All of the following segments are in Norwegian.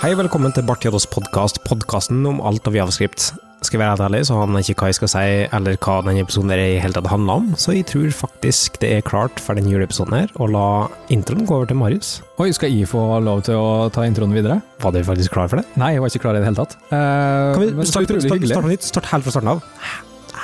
Hei, velkommen til Bart Jadås podkast, podkasten om alt av javascript. Skal jeg være helt ærlig, så aner jeg ikke hva jeg skal si, eller hva denne episoden her i hele tatt handler om, så jeg tror faktisk det er klart for denne juleepisoden her å la introen gå over til Marius. Oi, skal jeg få lov til å ta introen videre? Var du faktisk klar for det? Nei, jeg var ikke klar i det hele tatt. Eh, Kan men vi så starte utrolig start, hyggelig. start på nytt? Start helt fra starten av.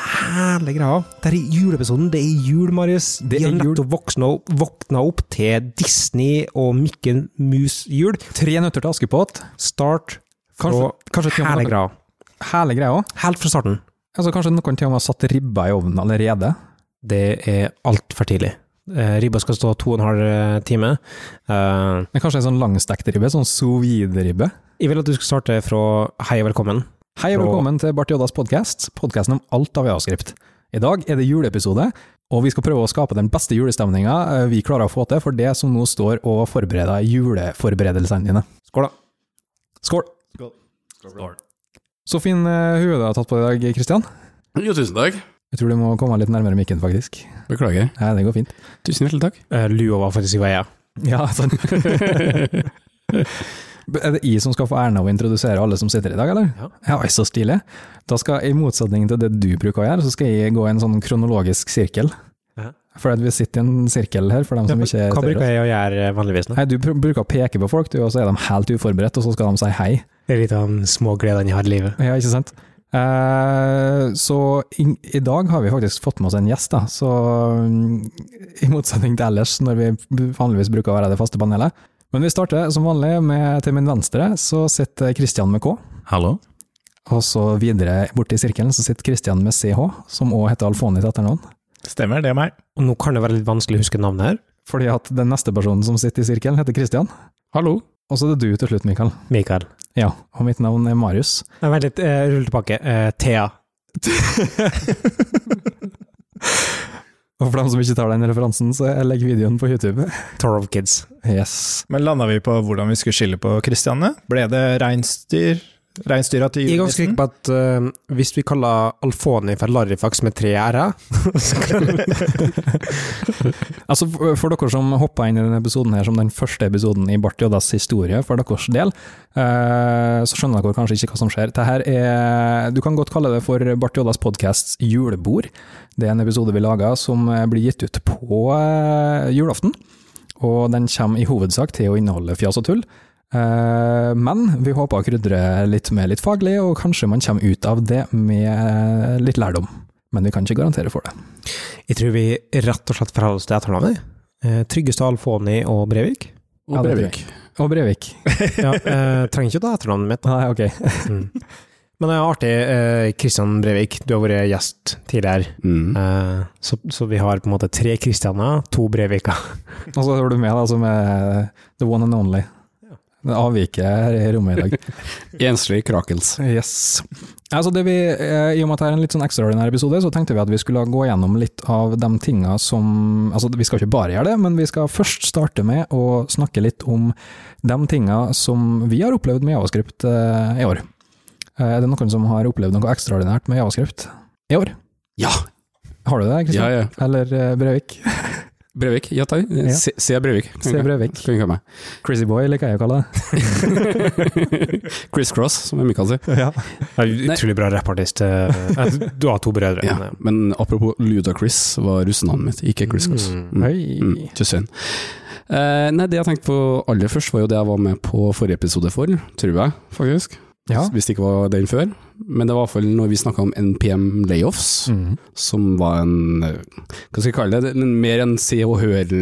Herlig greia. Det er juleepisoden, det er jul, Marius. Det Vi har er jul. nettopp voksna opp- våkna opp til Disney og Mikke Mus-jul. Tre nøtter til Askepott. Start fra Kanskje, kanskje til og med Herlig noen- greia. Hele greia òg. Helt fra starten. Altså, kanskje noen til og med har satt ribba i ovnen allerede. Det er altfor tidlig. Eh, Ribba skal stå to og en halv eh, time. Eh, Men kanskje en sånn langstekt ribbe? Sånn sous vide-ribbe? jeg vil at du skal starte fra hei og velkommen. Hei og Fra- velkommen til Bart Joddas podkast, podkasten om alt av javascript. I dag er det juleepisode, og vi skal prøve å skape den beste julestemninga eh, vi klarer å få til for det som nå står og forbereder juleforberedelsene dine. Skål, da. Skål! Så fin eh, hue du har tatt på i dag, Kristian. Jo, tusen takk. Jeg tror du må komme litt nærmere mikken, faktisk. Beklager. Nei, det går fint. Tusen hjertelig takk. Eh, lua var faktisk i veia. Ja, sånn. sant. er det jeg som skal få æren av å introdusere alle som sitter i dag, eller? Ja. oi, så stilig. Da skal, I motsetning til det du bruker å gjøre, så skal jeg gå i en sånn kronologisk sirkel. Ja. For at vi sitter i en sirkel her, for dem som ikke Hva ser bruker oss. jeg å gjøre eh, vanligvis? nå? Nei, du pr- bruker å peke på folk, du, og så er de helt uforberedt, og så skal de si hei. Det er litt av de små gledene jeg har i livet. Ja, ikke sant? Eh, så i, i dag har vi faktisk fått med oss en gjest, da. Så mm, i motsetning til ellers, når vi b- vanligvis bruker å være det faste panelet. Men vi starter som vanlig med til min venstre, så sitter Kristian med K. Hallo. Og så videre borti sirkelen så sitter Kristian med CH, som òg heter Alfoni til etternavn. Stemmer, det er meg. Og nå kan det være litt vanskelig å huske navnet her. Fordi at den neste personen som sitter i sirkelen, heter Kristian. Hallo. Og så er det du til slutt, Mikael. Mikael. Ja, og mitt navn er Marius. Nei, vent litt, eh, rull tilbake. Eh, Thea. Og for dem som ikke tar den referansen, så jeg legger videoen på YouTube. Torov Kids. Yes. Men landa vi på hvordan vi skulle skille på Kristianne? Ble det reinsdyr? Reinsdyra til Jeg er ganske sikker julenissen? på at eh, hvis vi kaller Alfoni for Larifax med tre r-er, så kan Altså for, for dere som hoppa inn i denne episoden her som den første episoden i Bart Joddas historie, for deres del, eh, så skjønner dere kanskje ikke hva som skjer. Dette her er, du kan godt kalle det for Bart Joddas podcasts julebord. Det er en episode vi lager som eh, blir gitt ut på eh, julaften, og den kommer i hovedsak til å inneholde fjas og tull. Eh, Men vi håper å krydre litt med litt faglig, og kanskje man kommer ut av det med eh, litt lærdom. Men vi kan ikke garantere for det. Jeg tror vi rett og slett forholder oss til etternavnet. Eh, Tryggestad, Alfoni og Brevik. Ja, Og det tror Brevik. Og Brevik. Ja, eh, trenger ikke å ta etternavnet mitt. Nei, ok. Mm. Men det er artig, eh, Kristian Brevik, du har vært gjest tidligere. Mm. Eh, så, så vi har på en måte tre Kristianer, to Breviker. Og så har du med deg som er the one and only. Det avviket her i rommet i dag. Enslig krakels. Yes. Altså det vi, eh, I og med at det er en litt sånn ekstraordinær episode, så tenkte vi at vi skulle gå gjennom litt av de tinga som Altså, vi skal ikke bare gjøre det, men vi skal først starte med å snakke litt om de tinga som vi har opplevd med Javascript eh, i år. Eh, Er det noen som har opplevd noe ekstraordinært med Javascript i år? Ja. Har du det, Ja, Kristian? ja. Eller eh, Brevik? Brevik. Ja, takk. Ja. Se, se Brevik. Kan Se ikke- Brevik. Kan ikke ha Crazy boy, liker jeg å kalle det. meg. Chris Cross, som jeg Mikael sier. Utrolig bra rappartist. eh, Du har to brødre. Ja. Men apropos Ludacris var russenavnet mitt, ikke Chris Cross. Mm. Mm. Oi. Mm, Just saying. Eh, nei, det jeg tenkte på aller først, var jo det jeg var med på forrige episode for, tror jeg, faktisk. Ja. Hvis det ikke var den før. Men det var i hvert fall når vi snakka om NPM layoffs. Mm. som var en eh, Hva skal jeg kalle det? En, mer en se og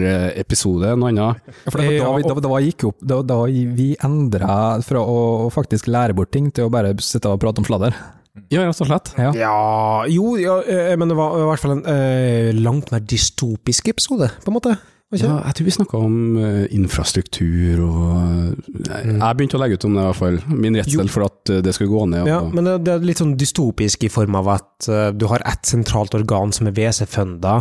hør-episode enn noe annet. Eh, For det, var da, vi- da, da gikk opp, da, da vi endra fra å faktisk lære bort ting til å bare sitte og prate om sladder. Ja, rett og slett. Ja. Ja Jo, ja, eh, men det var i hvert fall en eh, langt mer dystopisk episode, på en måte. Var ikke Ja, det? jeg tror vi snakka om eh, infrastruktur og eh, Mm. Jeg begynte å legge ut om det, i hvert fall. Min redsel for at eh, det skulle gå ned. Ja, og, men det- det er litt sånn dystopisk i form av at eh, du har ett sentralt organ som er WC-funda,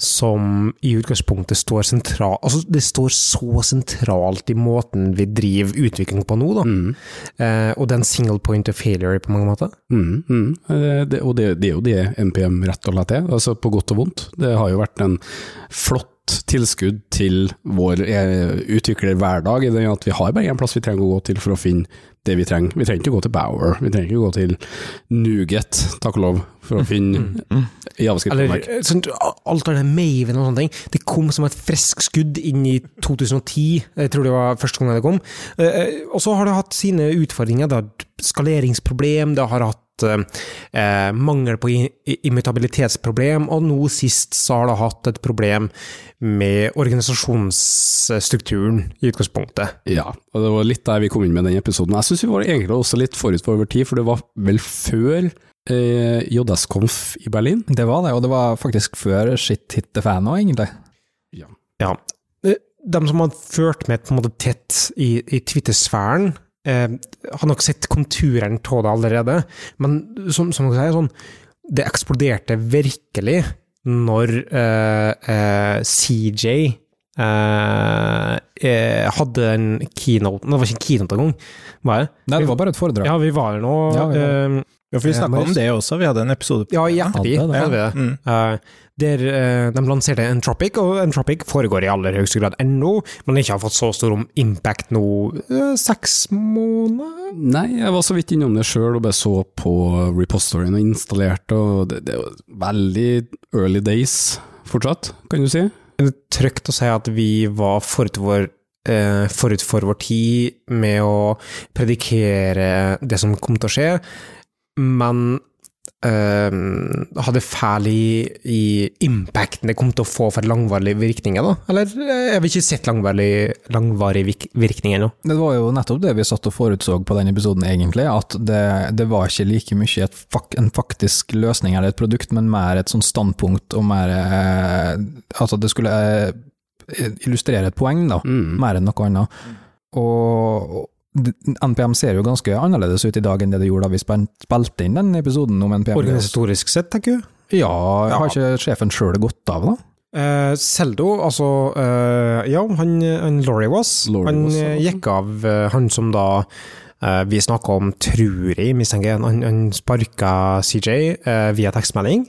som i utgangspunktet står sentralt Altså, det står så sentralt i måten vi driver utvikling på nå, da. mm, Eh, og det er en single point of failure på mange måter. mm, mm. Eh, Det, og det, det er jo det NPM rett og slett er, altså på godt og vondt. Det har jo vært en flott godt tilskudd til vår eh, utviklerhverdag, i den at vi har bare én plass vi trenger å gå til for å finne det vi trenger. Vi trenger ikke å gå til Bower, vi trenger ikke å gå til Nuget, takk og lov, for å finne Mm, Eller javascript-verk. eh, sånn, alt av det Maven og sånne ting. Det kom som et friskt skudd inn i 2010, jeg tror det var første gang det kom. Eh, eh, Og så har det hatt sine utfordringer. Det har hatt skaleringsproblem, det har hatt eh, eh, mangel på i- i- immutabilitetsproblem, og nå sist så har det hatt et problem med organisasjonsstrukturen i utgangspunktet. Ja, og det var litt der vi kom inn med den episoden. Jeg syns vi var egentlig også litt forut for vår tid, for det var vel før eh, JS-konf i Berlin. Det var det, og det var faktisk før shit hit the fan òg, egentlig. Ja. De Eh, som har ført med på en måte tett i, i Twitter-sfæren, eh, har nok sett konturene av det allerede. Men som, som dere sier, sånn, det eksploderte virkelig når eh, eh, CJ eh, eh, hadde en keynote Nei, Det var ikke en keynote engang, var det? Nei, det var bare et foredrag. Ja, vi var der nå. Ja, vi var eh, Ja, for vi Ja, snakka Marius. om det også, vi hadde en episode på Ja, i ettertid. Hadde det, hadde vi det. Mm. Eh, der eh, de lanserte Entropic, og Entropic foregår i aller høyeste grad ennå, men ikke har fått så stor om impact nå eh, seks måneder? Nei, jeg var så vidt innom det sjøl og bare så på repositoryen og installerte, og det, det er jo veldig early days fortsatt, kan du si. Er det trygt å si at vi var forut for vår eh, forut for vår tid med å predikere det som kom til å skje, men eh, hadde fæl i, i impacten det kom til å få for langvarige virkninger, da? Eller eh, jeg har vi ikke sett langvarige langvarig vik- virkninger ennå? Det var jo nettopp det vi satt og forutså på den episoden, egentlig. At det, det var ikke like mye et fak, en faktisk løsning eller et produkt, men mer et sånt standpunkt og mer eh, Altså, det skulle eh, illustrere et poeng, da. Mm. mer enn noe annet. Og og d- NPM ser jo ganske annerledes ut i dag enn det det gjorde da vi spen- spilte inn den episoden om NPM. Organisatorisk sett, tenker du? Ja, har ikke sjefen sjøl gått av, da? Eh, Seldo, altså eh, Ja, han, han Laurie was. Laurie han Wass, ja. eh, gikk av, eh, han som da eh, vi snakka om, tror jeg, mistenker jeg. Han, han sparka CJ eh, via tekstmelding.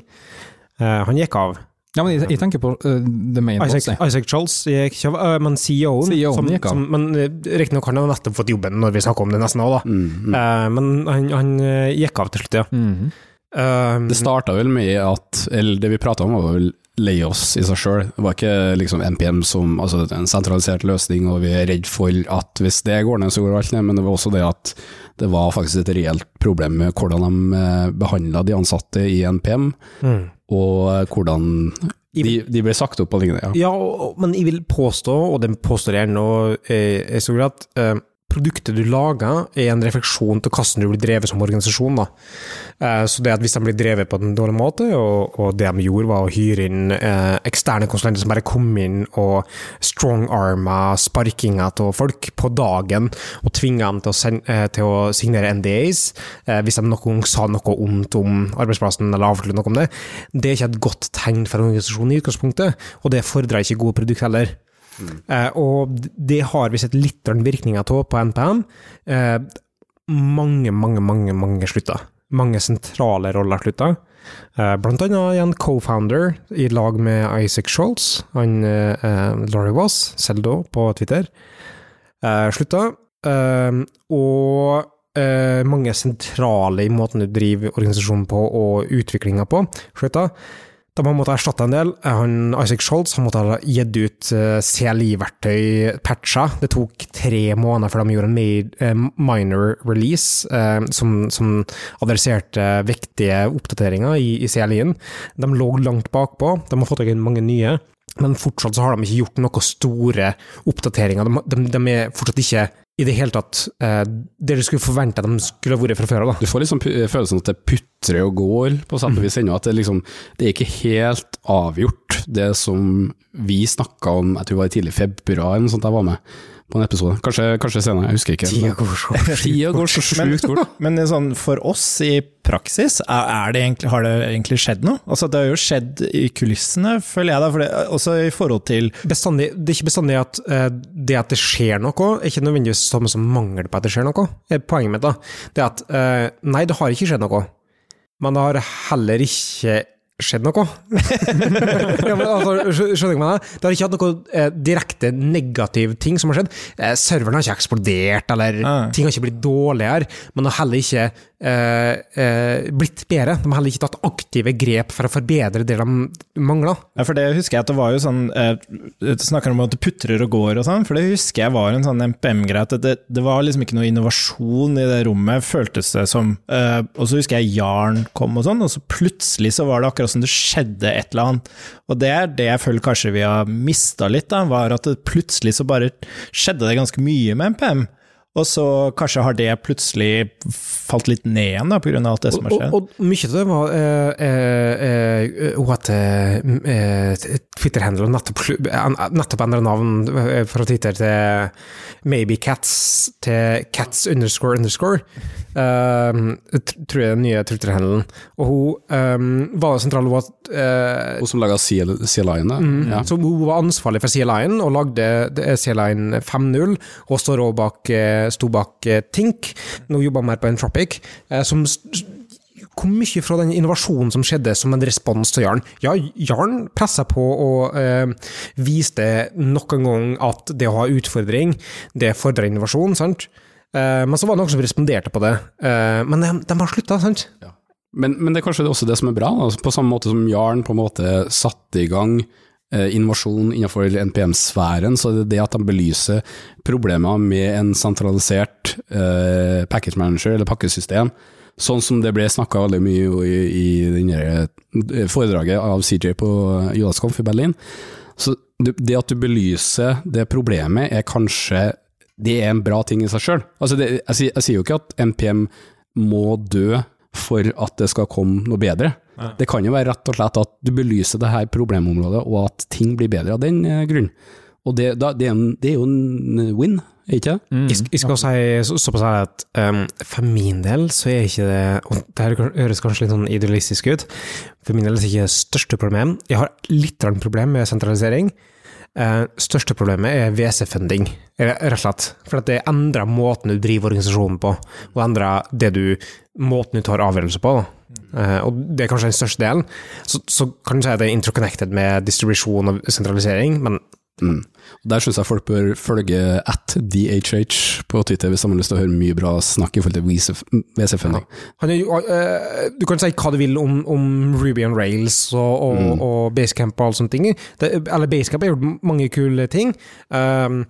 Eh, han gikk av. Ja, men jeg, jeg tenker på eh, The Main Boss, Isaac, jeg. Isaac Charles gikk ikke av, eh, men CEO-en CEO-en som, gikk av. som, Men eh, riktignok har han nettopp fått jobben, når vi snakker om det nesten nå, da. Mm. Eh, men han, han eh, gikk av til slutt, ja. Mhm. Eh, Det starta vel med at Eller det vi prata om, var vel layoffs i seg sjøl. Det var ikke liksom NPM som altså en sentralisert løsning, og vi er redd for at hvis det går ned, så går alt ned. Men det var også det at det var faktisk et reelt problem med hvordan de behandla de ansatte i NPM, mm. og eh, hvordan de, de ble sagt opp og lignende. Ja. Ja, og- og- men jeg vil påstå, og det påstår jeg nå eh, i stor grad, at eh, produktet du lager er en refleksjon til hvordan du blir drevet som organisasjon. Da. Eh, så det at hvis de blir drevet på en dårlig måte, og, og det de gjorde var å hyre inn eh, eksterne konsulenter som bare kom inn og strong-arma sparkinga av folk på dagen, og tvinga dem til å, send, eh, til å signere NDAs, eh, hvis de noen gang sa noe ondt om arbeidsplassen eller avslørte noe om det, det er ikke et godt tegn for organisasjonen i utgangspunktet, og det fordrer ikke gode produkter heller. Eh, og d- det har vi sett litt grann virkninger av på NPM. Eh, mange, mange, mange mange slutta. Mange sentrale roller slutta. Eh, blant annet en co-founder i lag med Isaac Scholz, han eh, eh, Laurie Wass, Seldo på Twitter, eh, slutta. Eh, og eh, mange sentrale i måten du driver organisasjonen på og utviklinga på, slutta. De har måttet erstatte en del. Han, Isaac Scholz har måttet ha gitt ut eh, CLI-verktøy, patcher. Det tok tre måneder før de gjorde en ma- eh, minor release eh, som, som adresserte viktige oppdateringer i, i CLI-en. De lå langt bakpå. De har fått inn mange nye. Men fortsatt så har de ikke gjort noen store oppdateringer. De, de, de er fortsatt ikke i det hele tatt eh, det du skulle forvente at de skulle ha vært fra før av. da. Du får liksom pu- følelsen at det putrer og går, på sett og vis ennå. At det liksom Det er ikke helt avgjort, det som vi snakka om, jeg tror det var i tidlig februar eller noe sånt jeg var med på en episode. Kanskje, kanskje senere, jeg husker ikke. Tida går så Tida går så Men- sjukt fort. Men sånn, for oss i praksis, er er det egentlig, har det egentlig skjedd noe? Altså, det har jo skjedd i kulissene, føler jeg da, for det, også i forhold til bestandig, det er ikke bestandig at eh, det at det skjer noe, er ikke nødvendigvis samme som mangel på at det skjer noe. Eh, Poenget mitt da, det er at eh, nei, det har ikke skjedd noe, men det har heller ikke skjedd noe. ja, men, altså, skj- skjønner du hva jeg mener? Det har ikke hatt noe eh, direkte negativ ting som har skjedd. Eh, serveren har ikke eksplodert, eller Nei. ting har ikke blitt dårligere. Men har heller ikke eh, eh, blitt bedre. De har heller ikke tatt aktive grep for å forbedre det de mangla. Ja, for det husker jeg at det var jo sånn eh, Du snakker om at det putrer og går og sånn, for det husker jeg var en sånn MPM-greie. At det, det var liksom ikke noe innovasjon i det rommet, føltes det som. Eh, og så husker jeg Jarn kom og sånn, og så plutselig så var det akkurat som det skjedde et eller annet. Og det er det jeg føler kanskje vi har mista litt, da, var at det plutselig så bare skjedde det ganske mye med MPM. Og så kanskje har det plutselig falt litt ned igjen, da, på grunn av alt det som har Og, skjedd. og mye av det var eh, eh, eh, Hun hadde eh, Twitter-handelen nettopp, slu- an- nettopp endret navn eh, fra Twitter til Maybe Cats til Cats underscore underscore. Um, tr- tror jeg er den nye Twitter-handelen. Og hun um, var jo sentral. Hun var eh, Hun som laga Sea Sea Lion, da. Mm. Ja. Så hun var ansvarlig for Sea Lion og lagde det- Sea Lion 5.0, og står også bak, eh, sto bak eh, Tink. Nå jobber han mer på Entropic, eh, som s- s- kom mye fra den innovasjonen som skjedde som en respons til Jarn. Ja, Jarn pressa på og eh, viste nok en gang at det å ha utfordring, det fordrer innovasjon, sant? Eh, men så var det noen som responderte på det. Eh, men de, de har slutta, sant? Men, men det er kanskje også det som er bra, da. på samme måte som Jarn på en måte satte i gang eh, innovasjon innenfor NPM-sfæren, så er det det at de belyser problemer med en sentralisert eh, package manager eller pakkesystem, sånn som det ble snakka veldig mye jo i, i den der foredraget av CJ på Jodaskonf i Berlin. Så det det at du belyser det problemet, er kanskje det er en bra ting i seg sjøl. Altså det- jeg, sier- jeg sier jo ikke at NPM må dø for at det skal komme noe bedre. Det kan jo være rett og slett at du belyser det her problemområdet, og at ting blir bedre av den eh, grunn. Og det, da, det, er en, det er jo en win, er ikke det? Jeg, sk- jeg skal også si så- såpass her at um, for min del så er ikke det Og det her kan- høres kanskje litt sånn idealistisk ut. For min del er det ikke det største problemet. Jeg har litt grann problem med sentralisering. Eh, største problemet er WC-funding, re- rett og slett. For at det endrer måten du driver organisasjonen på, og endrer det du, måten du tar avgjørelser på. Da. Eh, og det er kanskje den største delen. Så, så kan du si at det er interconnected med distribusjon og sentralisering, men Mm. Og Der syns jeg folk bør følge at DHH på Twitter hvis de har lyst til å høre mye bra snakk i forhold til WC-funding. Han er jo, eh, du kan si hva du vil om, om Ruby on Rails og, og, Mm. og Basecamp og alle sånne ting. Det, eller Basecamp har gjort mange kule ting, ehm,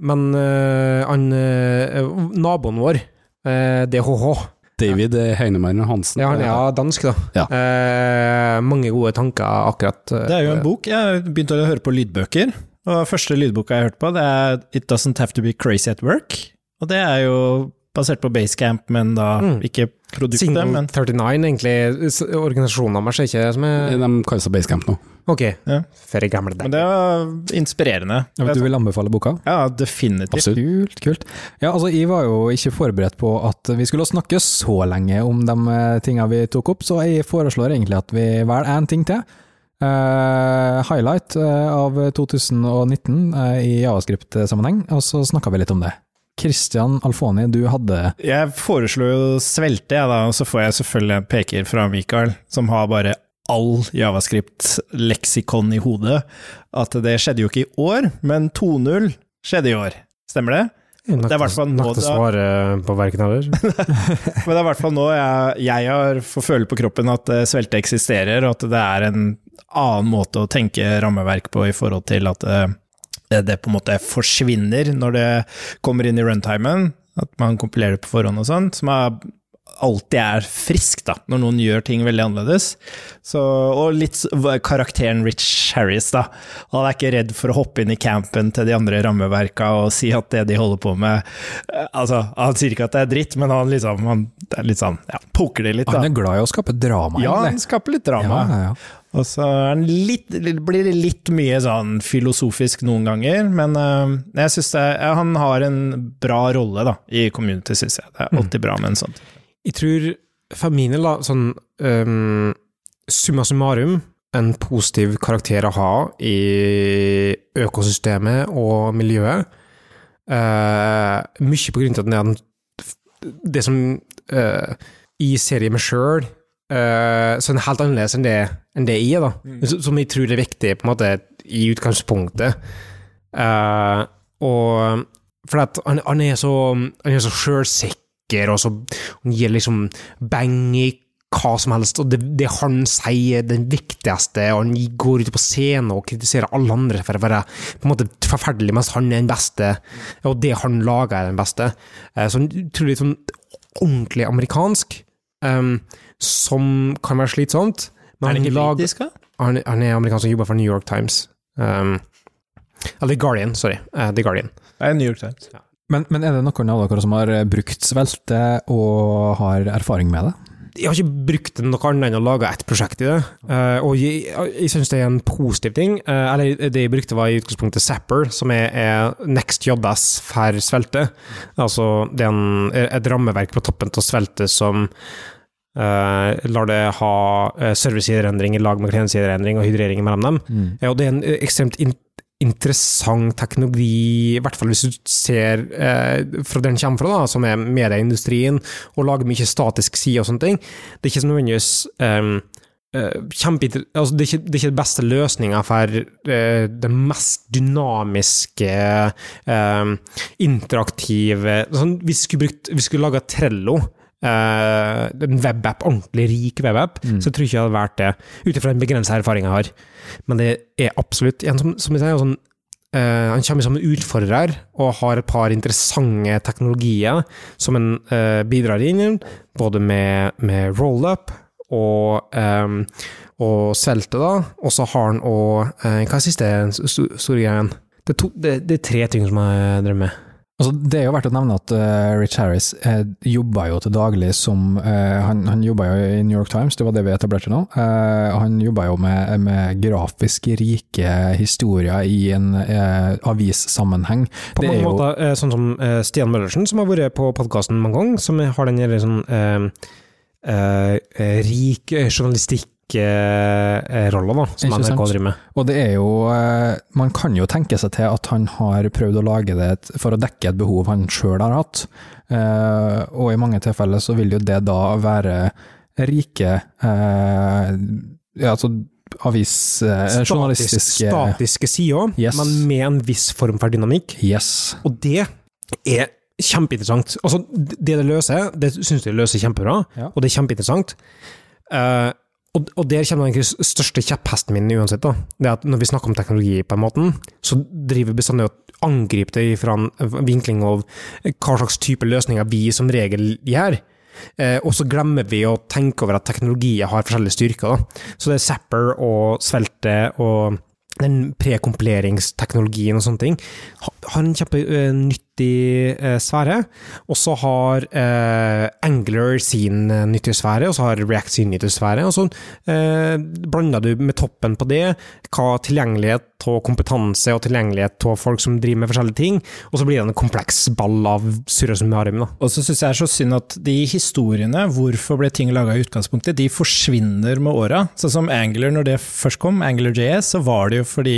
men eh, han, eh, naboen vår, eh, DHH, David eh, Heinemann Hansen. ja, han er ja, dansk da. Ja. Eh, mange gode tanker akkurat. eh, Det er jo en bok. Jeg begynte å høre på lydbøker. Og første lydboka jeg hørte på, det er It Doesn't Have To Be Crazy At Work. Og det er jo basert på Basecamp, men da Mm. ikke produktet, Single men 39, egentlig. s- Organisasjonen deres er ikke det som er Eh, De kaller seg Basecamp nå. Ok, Ja. for gamle Men der. det var inspirerende. Ja, men Du vil anbefale boka? Ja, definitivt. Absolutt. Kult, kult. Ja, altså, jeg var jo ikke forberedt på at vi skulle snakke så lenge om de eh, tingene vi tok opp, så jeg foreslår egentlig at vi velger én ting til. Eh, highlight eh, av 2019 eh, i javascript-sammenheng, og så snakka vi litt om det. Christian Alfoni, du hadde Jeg foreslo jo svelte, jeg da, og så får jeg selvfølgelig en peker fra Mikael, som har bare all javascript-leksikon i hodet. At det skjedde jo ikke i år, men 2.0 skjedde i år. Stemmer det? Nok det er i hvert fall nå nok til å det- svare eh, på hverken heller. Men det er i hvert fall nå jeg, jeg har får føle på kroppen at eh, svelte eksisterer, og at det er en annen måte å tenke rammeverk på i forhold til at eh, det på en måte forsvinner når det kommer inn i runtimen, at man kompilerer på forhånd og sånn, som er alltid er friskt da, når noen gjør ting veldig annerledes. Så, og litt s- v- karakteren Rich Harris, da. Han er ikke redd for å hoppe inn i campen til de andre rammeverka og si at det de holder på med eh, Altså, han sier ikke at det er dritt, men han liksom han, det er litt sånn, ja, poker det litt, Han da. er glad i å skape drama, Ja, han egentlig. skaper litt drama. ja, ja. Og så er den litt, blir det litt mye sånn filosofisk noen ganger, men eh, jeg synes det, ja, han har en bra rolle da, i community, synes jeg. Det er alltid bra med en sånn. Jeg tror for min del, da, sånn øhm, summa summarum, en positiv karakter å ha i økosystemet og miljøet, eh, mye på grunn av at den er den, det som eh, jeg ser i meg sjøl, Eh, sånn helt annerledes enn det, enn det jeg er, da. S- Som jeg tror er viktig på en måte i utgangspunktet. Eh, og For at han, han er så Han er så sjølsikker, og så han gir liksom beng i hva som helst, og det, det han sier er den viktigste, og han går ut på scenen og kritiserer alle andre for å være på en måte forferdelig, mens han er den beste, og det han lager er den beste. Eh, Så han er utrolig sånn ordentlig amerikansk, em, som kan være slitsomt. men Er det ikke han lager- britisk, da? han, han er amerikansk og jobber for New York Times. Um, eller The Guardian, sorry. Eh, The Guardian. Det er New York Times. Men, men er det noen av dere som har eh, brukt svelte og har erfaring med det? Jeg har ikke brukt det noe annet enn å lage ett prosjekt i det, Eh, og jeg, jeg syns det er en positiv ting. Eh, eller det jeg brukte var i utgangspunktet Zapper, som er, er Next JS for svelte. Altså det er en, et rammeverk på toppen av svelte som eh, lar det ha uh, servicesiderendring i lag med klenesiderendring og hydrering mellom dem. Ja, og det er en eh, ekstremt in interessant teknologi, i hvert fall hvis du ser eh, fra der den kommer fra, da, som er medieindustrien, og lager mye statisk side og sånne ting. Det er ikke så nødvendigvis um, altså det, er ikke, det er ikke den beste løsninga for eh, det mest dynamiske, eh, interaktive sånn, Vi skulle, brukt, vi skulle laga Trello, eh, en webapp, ordentlig rik webapp, så jeg tror ikke jeg hadde vært det, ut ifra den begrensa erfaringa jeg har. Men det er absolutt en som, som jeg sier, sånn, eh, han kommer som en utfordrer og har et par interessante teknologier som han eh, bidrar inn, både med, med roll-up og, um, og svelte, da. Og så har han og eh, Hva er siste sto- store greien? Det er, to, det, det er tre ting som jeg drømmer med. Altså, det er jo verdt å nevne at eh, Rich Harris uh, jobber jo til daglig som eh, Han, han jobba jo i New York Times, det var det vi etablerte nå. Eh, han jobba jo med, med grafisk rike historier i en eh, avissammenheng. På Det mange er jo- måter, eh, sånn som eh, Stian Møllersen, som har vært på podkasten mange ganger, som har den der sånn eh, eh, eh, rik journalistikk-rolla, da, som Ikke NRK sant? driver med. Og det er jo eh, Man kan jo tenke seg til at han har prøvd å lage det et- for å dekke et behov han sjøl har hatt, Eh, og i mange tilfeller så vil jo det da være rike eh, ja, altså avis... eh, journalistiske statiske sider, Yes. men med en viss form for dynamikk. Yes. Og det er kjempeinteressant. Altså, det det løser, det syns jeg det løser kjempebra, Ja. og det er kjempeinteressant. Eh, og, og der kommer den største kjepphesten min uansett. da. Det er at Når vi snakker om teknologi, på en måte, så driver vi bestandig og angriper det fra en eh, vinkling av eh, hva slags type løsninger vi som regel gjør. Eh, og så glemmer vi å tenke over at teknologier har forskjellige styrker. Da. Så det er Zapper og Svelte og den prekompileringsteknologien og sånne ting ha- har en kjempenyttig eh, sfære. Og så har eh, Angler sin eh, nyttige sfære, og så har React sin nyttige sfære. Og så eh, blander du med toppen på det hva tilgjengelighet og kompetanse og tilgjengelighet av folk som driver med forskjellige ting, og så blir det en kompleks ball av surre som harem, da. Og så syns jeg det er så synd at de historiene, hvorfor ble ting laga i utgangspunktet, de forsvinner med åra. Sånn som Angler, når det først kom, AnglerJS, så var det jo fordi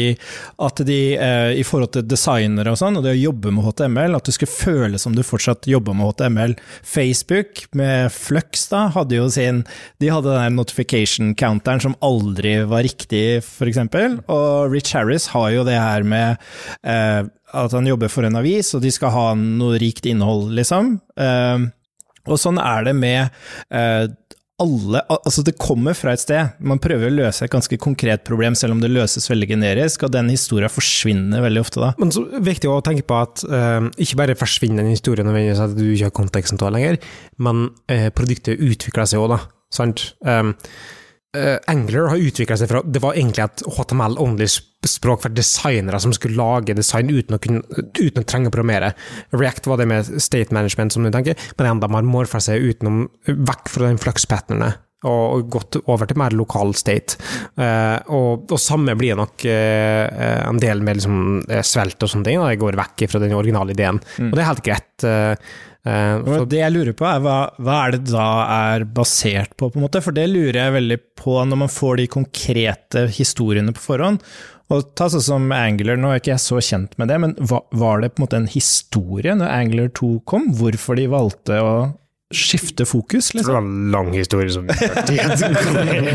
at de, eh, i forhold til designere og sånn, og det å jobbe med HTML, at du skulle føle som du fortsatt jobba med HTML. Facebook, med Flux, da, hadde jo sin De hadde den der notification counteren som aldri var riktig, f.eks. Og Rich Harris har jo det her med eh, at han jobber for en avis, og de skal ha noe rikt innhold, liksom. Eh, og sånn er det med eh, alle al- Altså, det kommer fra et sted. Man prøver å løse et ganske konkret problem, selv om det løses veldig generisk, og den historia forsvinner veldig ofte da. Men så er det viktig å tenke på at eh, ikke bare forsvinner den historien nødvendigvis at du ikke har konteksten til det lenger, men eh, produktet utvikler seg òg, da. Sant? Um, eh, Angler har utvikla seg fra Det var egentlig et HTML-only-språk for designere som skulle lage design uten å, kunne, uten å trenge å programmere. React var det med state management, som du tenker, men enda man morfa seg utenom, vekk fra den flux-patternet. Og og gått over til mer lokal state. Eh, og, og samme blir det nok eh, eh, en del med liksom, eh, svelt og sånne ting. Da. Jeg går vekk fra den originale ideen. Og det er helt greit. eh, eh, Men for, det jeg lurer på er hva, hva er det da er basert på, på en måte? For det lurer jeg veldig på når man får de konkrete historiene på forhånd. Og ta sånn som Angler, nå er ikke jeg så kjent med det, men hva, var det på en måte en historie når Angler 2 kom? Hvorfor de valgte å skifte fokus, Det liksom. var en lang historie som Det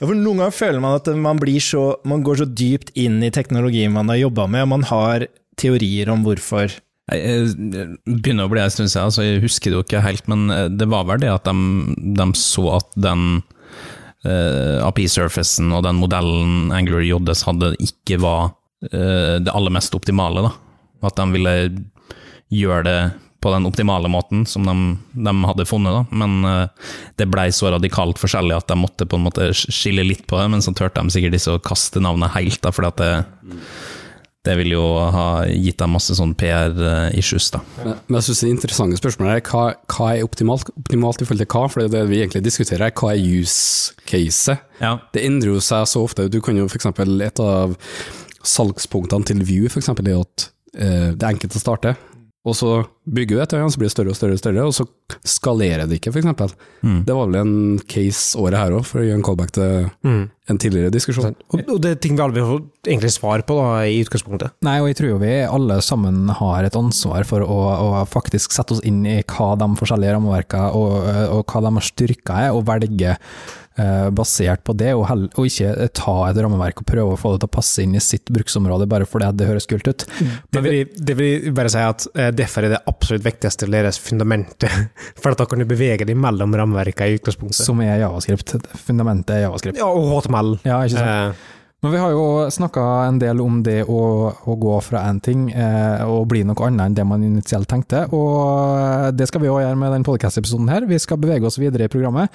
Ja, for Noen ganger føler man at man, blir så, man går så dypt inn i teknologien man har jobba med, og man har teorier om hvorfor. Nei, eh, begynner å bli en stund siden, altså jeg husker det jo ikke helt, men eh, det var vel det at de, de så at den eh, API-surfacen og den modellen Angler JS hadde, ikke var eh, det aller mest optimale. da. At de ville gjøre det på den optimale måten som de, de hadde funnet, da. men eh, det blei så radikalt forskjellig at de måtte på en måte skille litt på det, men så turte de sikkert ikke å kaste navnet helt, da, fordi at det, det ville jo ha gitt dem masse sånn PR-issues, da. Men men jeg synes det interessante spørsmålet er hva, hva er optimalt, optimalt i forhold til hva? For det, er det vi egentlig diskuterer, er hva er use caset? Ja. Det endrer jo seg så ofte. Du kan jo f.eks. et av salgspunktene til View for eksempel, er jo at eh, det er enkelt å starte. Og så bygger du et øye, så blir det større og større, og større, og så skalerer det ikke, f.eks. Mm. Det var vel en case året her òg, for å gjøre en callback til en tidligere diskusjon. Og, og det er ting vi aldri får egentlig svar på da, i utgangspunktet. Nei, og jeg tror jo vi alle sammen har et ansvar for å, å faktisk sette oss inn i hva de forskjellige rammeverkene og, og hva de har styrka er, og velge eh, basert på det, og, hell, og ikke ta et rammeverk og prøve å få det til å passe inn i sitt bruksområde bare fordi at det høres kult ut. Det vil, det vil bare si at eh, derfor er det absolutt viktigste deres fundamentet, for at da kan du bevege deg mellom rammeverkene i utgangspunktet. Som er javascript. Fundamentet er javascript. Ja, og HTML. Ja, ikke sant? Eh, Men vi har jo snakka en del om det å, å gå fra én ting eh, og bli noe annet enn det man initielt tenkte, og eh, det skal vi òg gjøre med den podkast-episoden her. Vi skal bevege oss videre i programmet.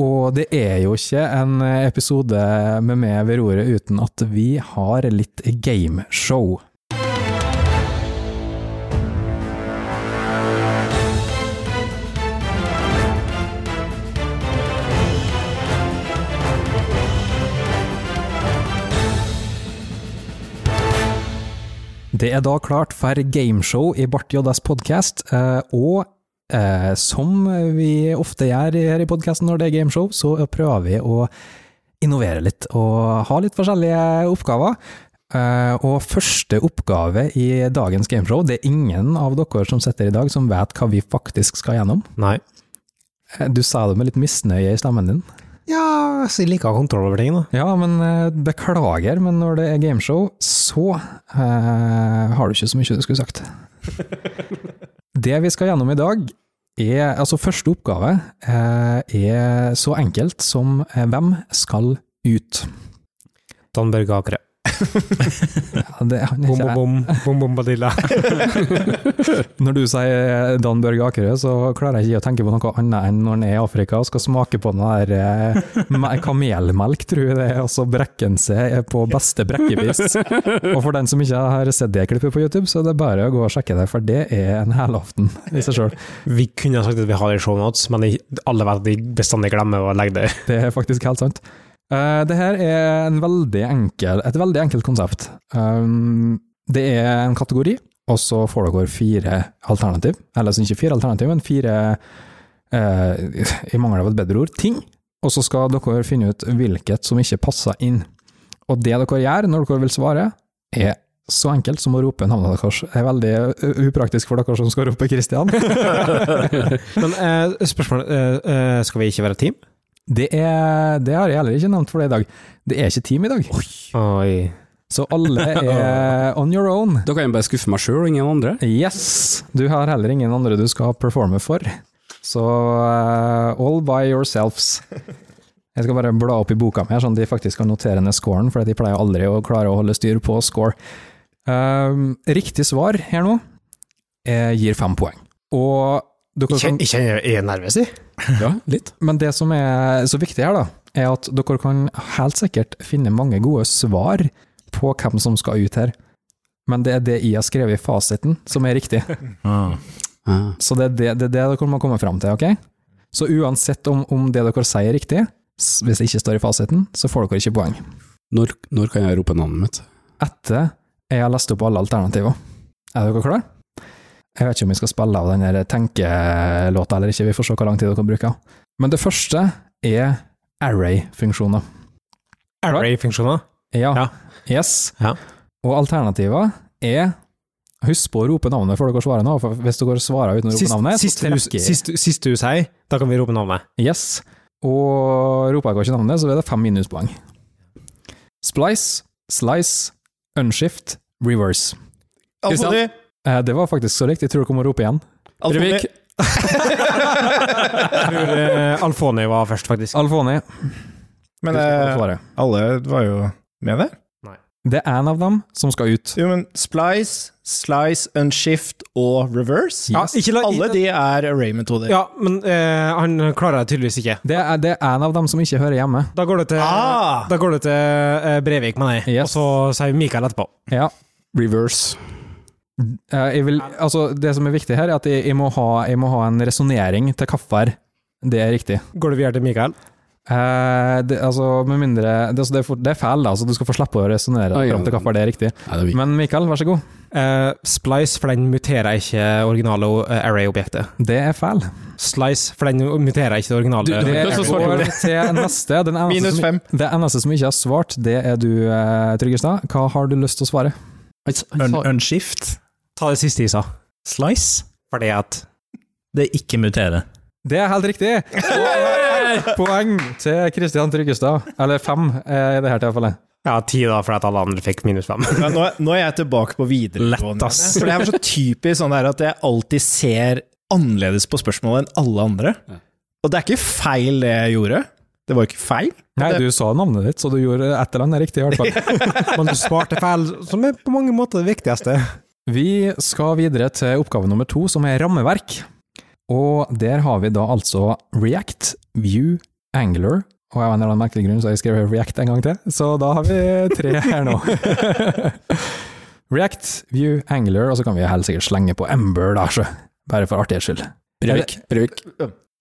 Og det er jo ikke en episode med meg ved roret uten at vi har litt gameshow. Det er da klart for gameshow i Bart JS podkast, og eh, som vi ofte gjør her i podkasten når det er gameshow, så prøver vi å innovere litt og ha litt forskjellige oppgaver. Eh, og første oppgave i dagens gameshow, det er ingen av dere som sitter her i dag som vet hva vi faktisk skal gjennom. nei. Eh, Du sa det med litt misnøye i stemmen din. Ja, så jeg liker å ha kontroll over ting, da. Ja, men eh, beklager, men når det er gameshow, så eh, har du ikke så mye du skulle sagt. det vi skal gjennom i dag, er altså første oppgave eh, er så enkelt som eh, hvem skal ut? Dan Børge Akre. Ja, det, han Bom, er bom, bom, ikke, bom, bom, badilla. når du sier eh, Dan Børge Akerø, så klarer jeg ikke å tenke på noe annet enn når han er i Afrika og skal smake på noe der eh, me- kamelmelk, tror jeg det er, altså brekkense på beste brekkevis. Og for den som ikke har sett det klippet på YouTube, så er det bare å gå og sjekke det, for det er en helaften i seg sjøl. Vi kunne ha sagt at vi har det i shownotes, men jeg- alle vet at de bestandig glemmer å legge det. Det er faktisk helt sant. Uh, det her er en veldig enkel, et veldig enkelt konsept. Um, det er en kategori, og så får dere fire alternativ. Eller altså ikke fire alternativ, men fire eh, Jeg mangler av et bedre ord. Ting. Og så skal dere finne ut hvilket som ikke passer inn. Og det dere gjør når dere vil svare, er så enkelt som å rope navnet deres. Det er veldig eh, upraktisk for dere som skal rope Christian. Men eh, spørsmålet eh, eh, Skal vi ikke være team? Det, er, det har jeg heller ikke nevnt for deg i dag. Det er ikke team i dag. Oi. Så alle er on your own. Da kan jeg bare skuffe meg sjøl og ingen andre. Yes! Du har heller ingen andre du skal performe for. Så eh, all by yourselves. Jeg skal bare bla opp i boka mi, her, sånn at de faktisk kan notere ned scoren, for de pleier aldri å klare å holde styr på score. Um, riktig svar her nå eh, gir fem poeng. Og dere Ikke, kan ikke jeg er nervøs, jeg. Ja, litt. men det som er så viktig her, da, er at dere kan helt sikkert finne mange gode svar på hvem som skal ut her. Men det er det jeg har skrevet i fasiten, som er riktig. Ah. Ah. Så det er det, det, er det dere må komme fram til, ok? Så uansett om, om det dere sier er riktig, s- hvis det ikke står i fasiten, så får dere ikke poeng. Når, når kan jeg rope navnet mitt? Etter jeg har lest opp alle alternativer. Er dere klare? Jeg vet ikke om vi skal spille av den her tenkelåta eller ikke, vi får se hvor lang tid dere bruker. Men det første er array-funksjoner. Array-funksjoner. Ja. Ja. Yes. Ja. Og alternativet er Husk på å rope navnet før dere svarer nå, for hvis dere svarer uten å rope Sist- navnet, så Siste hus- trekker jeg. siste- siste du sier, da kan vi rope navnet. Yes. Og roper jeg ikke navnet, så blir det fem minuspoeng. Splice, slice, unshift, reverse. Alfoni! Eh, Det var faktisk så riktig, jeg tror dere må rope igjen. Alfoni! Eh, Alfoni var først, faktisk. Alfoni. Men Husk på å eh, svare. alle var jo med der. Det er en av dem som skal ut. Jo, men Splice, Slice, Unshift og Reverse Ja, ikke la- Alle de er array-metoder. Ja, men eh, han klarer det tydeligvis ikke. Det er, det er en av dem som ikke hører hjemme. Da går det til, Ah! da går det til eh, Brevik, mener jeg. Og Yes. så sier Mikael etterpå. Ja. Reverse. Eh, Jeg vil, altså, det som er viktig her, er at jeg, jeg, må, ha, jeg må ha en resonnering til hvorfor det er riktig. Går det videre til Mikael? Eh, det, altså, med mindre Det, altså, det, er, for, det er feil, da, så du skal få slippe å resonnere Ah, ja. fram til hvorfor det er riktig. Nei, det er vi. Men Mikael, vær så god. Eh, splice, for den muterer ikke originale eh, array-objektet. Det er feil. Slice, for den muterer ikke det originale Du- Det du- array-objektet. så svarte går til neste. Den eneste Minus som, fem. Det eneste som ikke har svart, det er du, eh, Tryggestad. Hva har du lyst til å svare? Un unshift, Ta det siste i sa. slice, Fordi at det er ikke mutere. Det er helt riktig! Poeng til Kristian Tryggestad. Eller fem, eh, i det her tilfellet. Ja, ti, da, fordi at alle andre fikk minus fem. Ja, nå, er- nå er jeg tilbake på videregående. Lett, ass. For det er så typisk sånn der at jeg alltid ser annerledes på spørsmålet enn alle andre. Og det er ikke feil det jeg gjorde. Det var ikke feil. Nei, du sa navnet ditt, så du gjorde et eller annet riktig, i hvert fall. Men du svarte feil, som er på mange måter det viktigste. Vi skal videre til oppgave nummer to, som er rammeverk. Og der har vi da altså React, View, Angler, og av en eller annen merkelig grunn så har jeg skrevet React en gang til, så da har vi tre her nå. React, View, Angler, og så kan vi helt sikkert slenge på Ember, da, så. Bare for artighets skyld. Brevik. Brevik.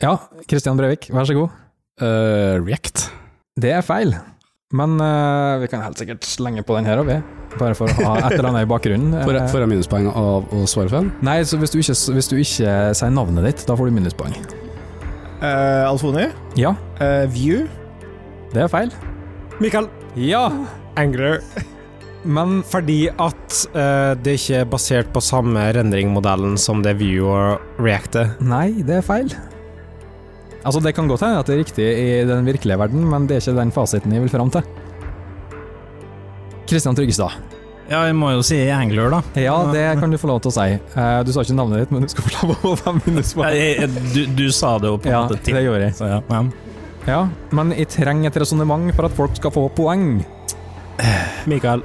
Ja, Kristian Brevik, vær så god. Eh, React. Det er feil. Men eh, vi kan helt sikkert slenge på den her òg, bare for å ha et eller annet i bakgrunnen. Får Eh, jeg- får jeg minuspoeng av å svare for den? Nei, så hvis du, ikke, hvis du ikke sier navnet ditt, da får du minuspoeng. Eh, Alfoni, Ja, eh, View det er feil. Mikael, Ja! Angler. Men fordi at eh, det ikke er basert på samme rendringmodellen som det Vue og React er. Nei, det er feil. Altså, det kan godt hende at det er riktig i den virkelige verden, men det er ikke den fasiten jeg vil fram til. Kristian Tryggestad. Ja, jeg må jo si angler, da. Ja, det kan du få lov til å si. Eh, du sa ikke navnet ditt, men du skal få lov til å få fem minuspoeng. Jeg, jeg, du, du sa det jo på en Ja, måte det til. gjorde jeg. Så ja. ja. Ja, men jeg trenger et resonnement for at folk skal få poeng. Mikael,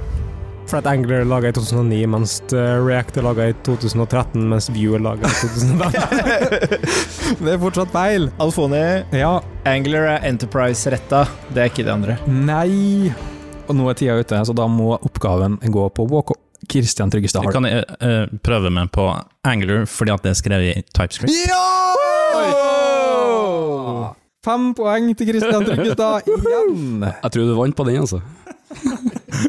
for at Angler er laget i 2009, mens eh, React er laget i 2013, mens Vue er laget i 2005. Det er fortsatt feil. Alfoni, Ja, Angler er enterprise-retta. Det er ikke det andre. nei Og nå er tida ute, så da må oppgaven gå på walk Kristian Tryggestad Det har kan jeg eh, prøve meg på angler, fordi at det er skrevet i TypeScript. Ja! Fem poeng til Kristian Tryggestad igjen. Jeg tror du vant på den, altså.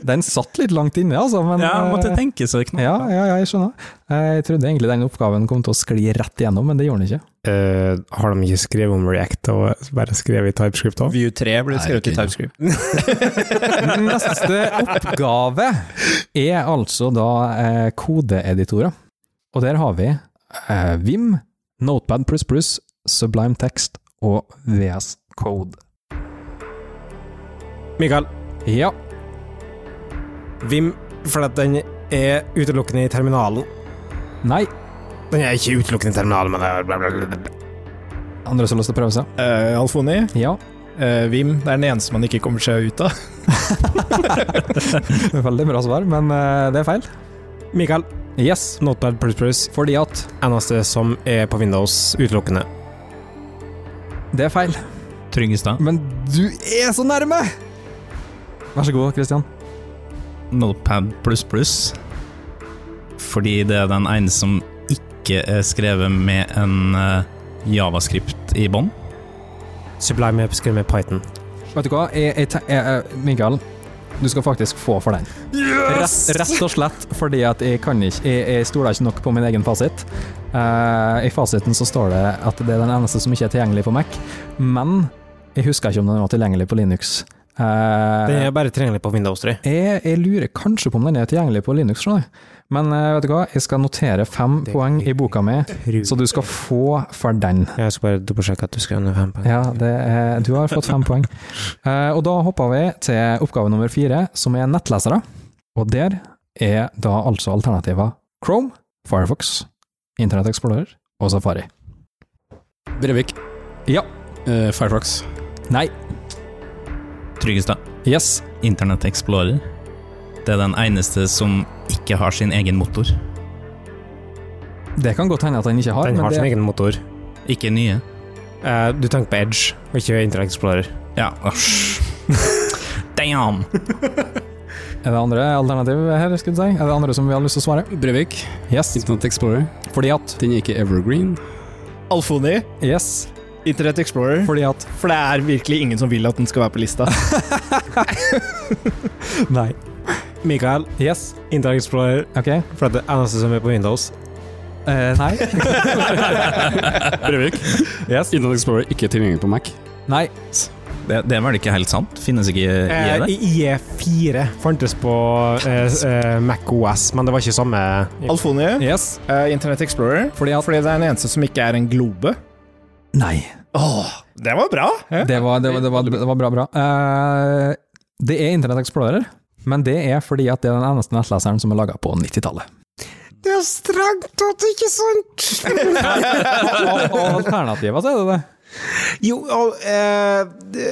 Den satt litt langt inne, altså, men Ja, jeg måtte eh, tenke så det knakk. ja, ja, ja, jeg skjønner. Eh, Jeg trodde egentlig den oppgaven kom til å skli rett igjennom, men det gjorde den ikke. Eh, har de ikke skrevet om React og bare skrevet i TypeScript òg? View 3 ble Nei, skrevet i ikke. TypeScript. Neste oppgave er altså da eh, kodeeditorer. Og der har vi eh, Vim, Notepad Sublime Text og VS Code. Mikael, Ja, Vim, for at den er utelukkende i terminalen. nei. Den er ikke utelukkende i terminalen, men det er bla, bla, bla, bla. Andre som har lyst til å prøve seg? Eh, Alfoni, Ja, eh, Vim. Det er den eneste man ikke kommer seg ut av. veldig bra svar, men eh, det er feil. Mikael, Yes, Notepad pluss pluss, fordi at eneste som er på Windows utelukkende. det er feil. Tryggestad. Men du er så nærme! Vær så god, Kristian. Notepad pluss pluss. Fordi det er den ene som ikke er skrevet med en eh, javascript i bånn. Sublime er skrevet med Python. Vet du hva, jeg, jeg, te- jeg, jeg, Mikael, du skal faktisk få for den. Rett, rett og slett fordi at jeg kan ikke Jeg, jeg stoler ikke nok på min egen fasit. Eh, I fasiten så står det at det er den eneste som ikke er tilgjengelig på Mac, men jeg husker ikke om den var tilgjengelig på Linux. Eh, Den er bare tilgjengelig på Windows 3. jeg, jeg lurer kanskje på om den er tilgjengelig på Linux, skjønner jeg. Men eh, vet du hva, jeg skal notere fem Det- poeng i boka mi, så du skal få for den. Jeg skal bare dobbeltsjekke at du skrev ned fem poeng. Ja, det er, du har fått fem poeng. Eh, og da hopper vi til oppgave nummer fire, som er nettlesere. Og der er da altså alternativer Chrome, Firefox, Internett Explorer og Safari. Brevik. Ja. Eh, Firefox. Nei. Tryggestad. Yes. Internett Explorer. Det er den eneste som ikke har sin egen motor. Det kan godt hende at den ikke har, Den har men sin det, egen motor. Ikke nye. Eh, du tenker på Edge, og ikke Interact Explorer. Ja, æsj. Damn! er det andre alternativ her, skulle du si? Er det andre som vi har lyst til å svare? Brevik. Yes. Internet Explorer. Fordi at Den er ikke evergreen. Alfoni, Yes. Internet Explorer. Fordi at For det er virkelig ingen som vil at den skal være på lista. Nei. Mikael, Yes. Interact Explorer, Ok. for det er eneste som er på Windows. Eh, nei. Brevik. Yes. Internet Explorer ikke tilgjengelig på Mac. Nei. Det, det er vel ikke helt sant? Finnes ikke Eh, i det? IE4 Eh, fantes på eh, eh, Mac OS, men det var ikke samme Alfoni, Yes. eh, Internet Explorer. Fordi at Fordi det er den eneste som ikke er en globe. Nei. Åh, det var bra! Ja. Det var, det var, det var, det var bra, bra. Eh, det er Internett Explorer, men det er fordi at det er den eneste nettleseren som er laga på 90-tallet. Det er strengt tatt ikke sant! Og, og alternativet, så er det det. Jo, og eh, det,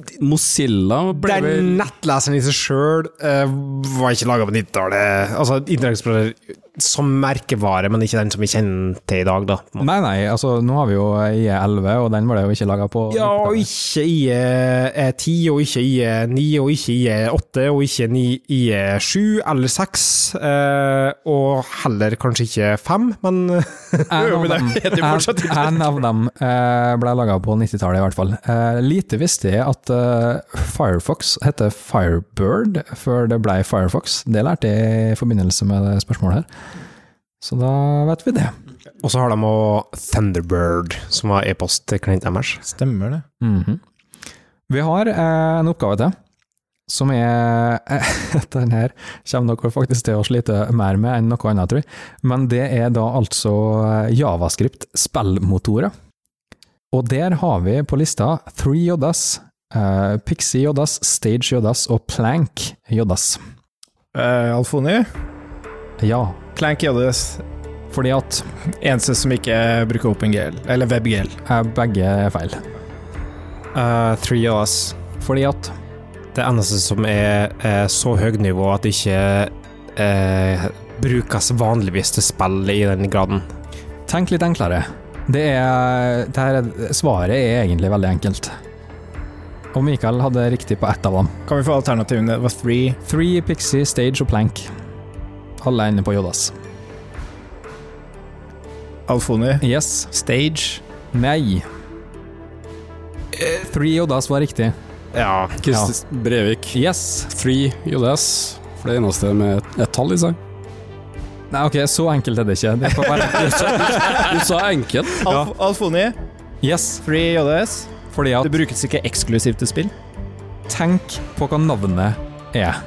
Mozilla ble Den vel nettleseren i seg sjøl var ikke laga på 90-tallet. Altså, Interact Explorer som merkevare, men ikke den som vi kjenner til i dag, da. på en måte. Nei, nei, altså nå har vi jo IE11, og den ble jo ikke laga på Ja, og 90-tallet. ikke IE10, og ikke IE9, og ikke IE8, og ikke ni- IE7 eller 6. Eh, og heller kanskje ikke 5, men eh, En av dem, en, en av dem eh, ble laga på 90-tallet, i hvert fall. Eh, lite visste jeg at eh, Firefox heter Firebird før det ble Firefox. Det lærte jeg i forbindelse med det spørsmålet her. Så da vet vi det. Og så har de òg Thunderbird, som var e-post til klienten deres. Stemmer det. Mhm. Vi har eh, en oppgave til, som er eh, Den her kommer dere faktisk til å slite mer med enn noe annet, tror jeg. Men det er da altså Javascript spillmotorer. Og der har vi på lista 3JS, eh, Pixie JS, Stage JS og Plank JS. Eh, Alfoni, Ja, Clank JS. fordi at Eneste som ikke bruker OpenGL, eller WebGL. eh, begge er feil. Uh, 3OS. Fordi at Det eneste som er eh, så høyt nivå at det ikke eh, brukes vanligvis til spill i den graden. Tenk litt enklere. Det er, det her er, svaret er egentlig veldig enkelt. Og Mikael hadde riktig på ett av dem. Kan vi få alternativene? Det var Three. Three, Pixie, Stage og Plank. Alle er inne på Jodas. Alfoni. Yes. Stage. Nei. Eh, Three Jodas var riktig. Ja. Krist- Brevik. Yes. Three JS. For det eneste med et, et tall i seg. Nei, ok, så enkelt er det ikke. Det får være Du sa enkelt. Alf Alfoni, Yes, Three JS. fordi Det at brukes ikke eksklusivt til spill. Tenk på hva navnet er.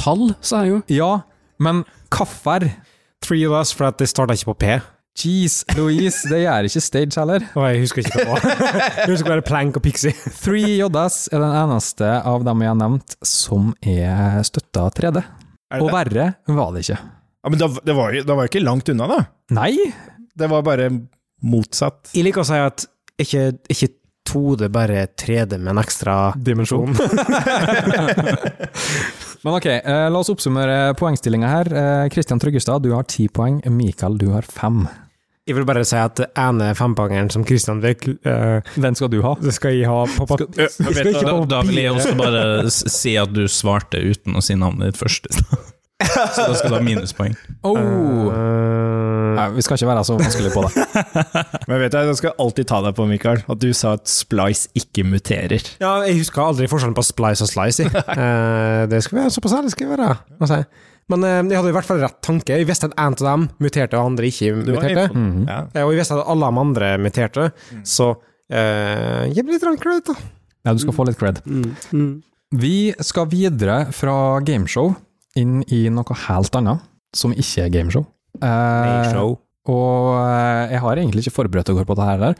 Tall, sa jeg jo. Ja, men kaffer 3OS, for at det starta ikke på P. Jeez, Louise, det gjør ikke Stage heller. Og jeg husker ikke hva det var. Jeg husker bare Plank og Pixie. 3JS er den eneste av dem jeg har nevnt som er støtta 3D. Er Og det det? verre var det ikke. Ja, men da, det var jo det var jo ikke langt unna, da. Nei! Det var bare motsatt. Jeg liker å si at ikke, ikke 2D, bare 3D med en ekstra dimensjon. Men ok, eh, la oss oppsummere poengstillinga her. Eh, Kristian Tryggestad, du har ti poeng. Mikael, du har fem. Jeg vil bare si at det ene fempangeren som Christian virkelig eh, Den skal du ha. Det skal jeg ha på papp... Øh, Vi skal ikke Da, på da vil jeg papir. også bare s- si at du svarte uten å si navnet ditt først. i stad. Så da skal du ha minuspoeng. Oh. Eh, Nei, vi skal ikke være så vanskelig på det. Men vet du, jeg skal alltid ta deg på, Mikael, at du sa at Splice ikke muterer. ja, jeg husker aldri forskjellen på splice og slice. jeg. Eh, det skal vi være såpass ærlig skal vi være. må jeg si. Men eh, jeg hadde i hvert fall rett tanke. Jeg visste at en av dem muterte, og andre ikke Du var muterte. inne på Mhm. den. Ja. Eh, Og jeg visste at alle de andre muterte, Mm. så eh, jeg blir litt rankere ut, da. Mm. Ja, du skal få litt cred. Vi skal videre fra gameshow inn i noe helt annet, som ikke er gameshow. Eh, Show. og eh, jeg har egentlig ikke forberedt dere på det her, der,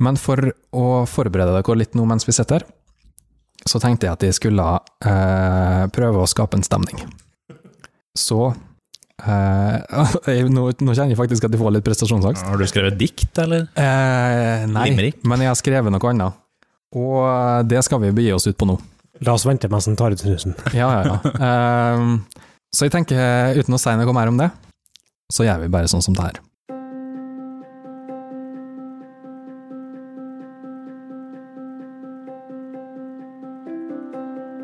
men for å forberede dere litt nå mens vi sitter her, så tenkte jeg at jeg skulle eh, prøve å skape en stemning. Så eh, jeg- nå, nå kjenner jeg faktisk at jeg får litt prestasjonsangst. Har du skrevet dikt, eller? Eh, nei, Limerick? men jeg har skrevet noe annet. Og eh, det skal vi begi oss ut på nå. La oss vente mens han tar ut snusen. Ja, ja, ja. Ehm, så jeg tenker, uten å si noe mer om det, så gjør vi bare sånn som det her.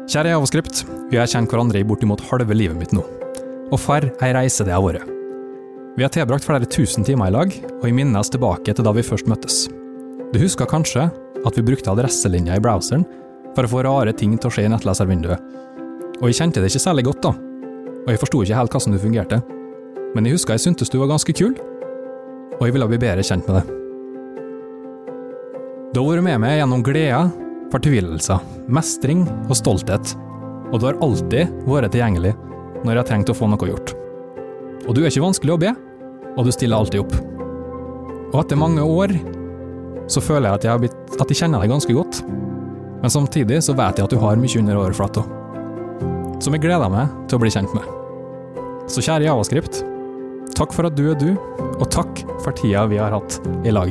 Kjære Javascript, vi har kjent hverandre i bortimot halve livet mitt nå. Og for ei reise det har vært. Vi har tilbrakt flere tusen timer i lag, og jeg minnes tilbake til da vi først møttes. Du husker kanskje at vi brukte adresselinja i browseren for å få rare ting til å skje i nettleservinduet. Og jeg kjente det ikke særlig godt, da. Og jeg forsto ikke helt hvordan du fungerte. Men jeg huska jeg syntes du var ganske kul, og jeg ville bli bedre kjent med deg. Du har vært med meg gjennom gleder, fortvilelser, mestring og stolthet. Og du har alltid vært tilgjengelig når jeg har trengt å få noe gjort. Og du er ikke vanskelig å be, og du stiller alltid opp. Og etter mange år så føler jeg at jeg, har blitt, at jeg kjenner deg ganske godt, men samtidig så vet jeg at du har mye under overflata som jeg gleder meg til å bli kjent med. Så kjære Javascript, takk for at du er du, og takk for tida vi har hatt i lag.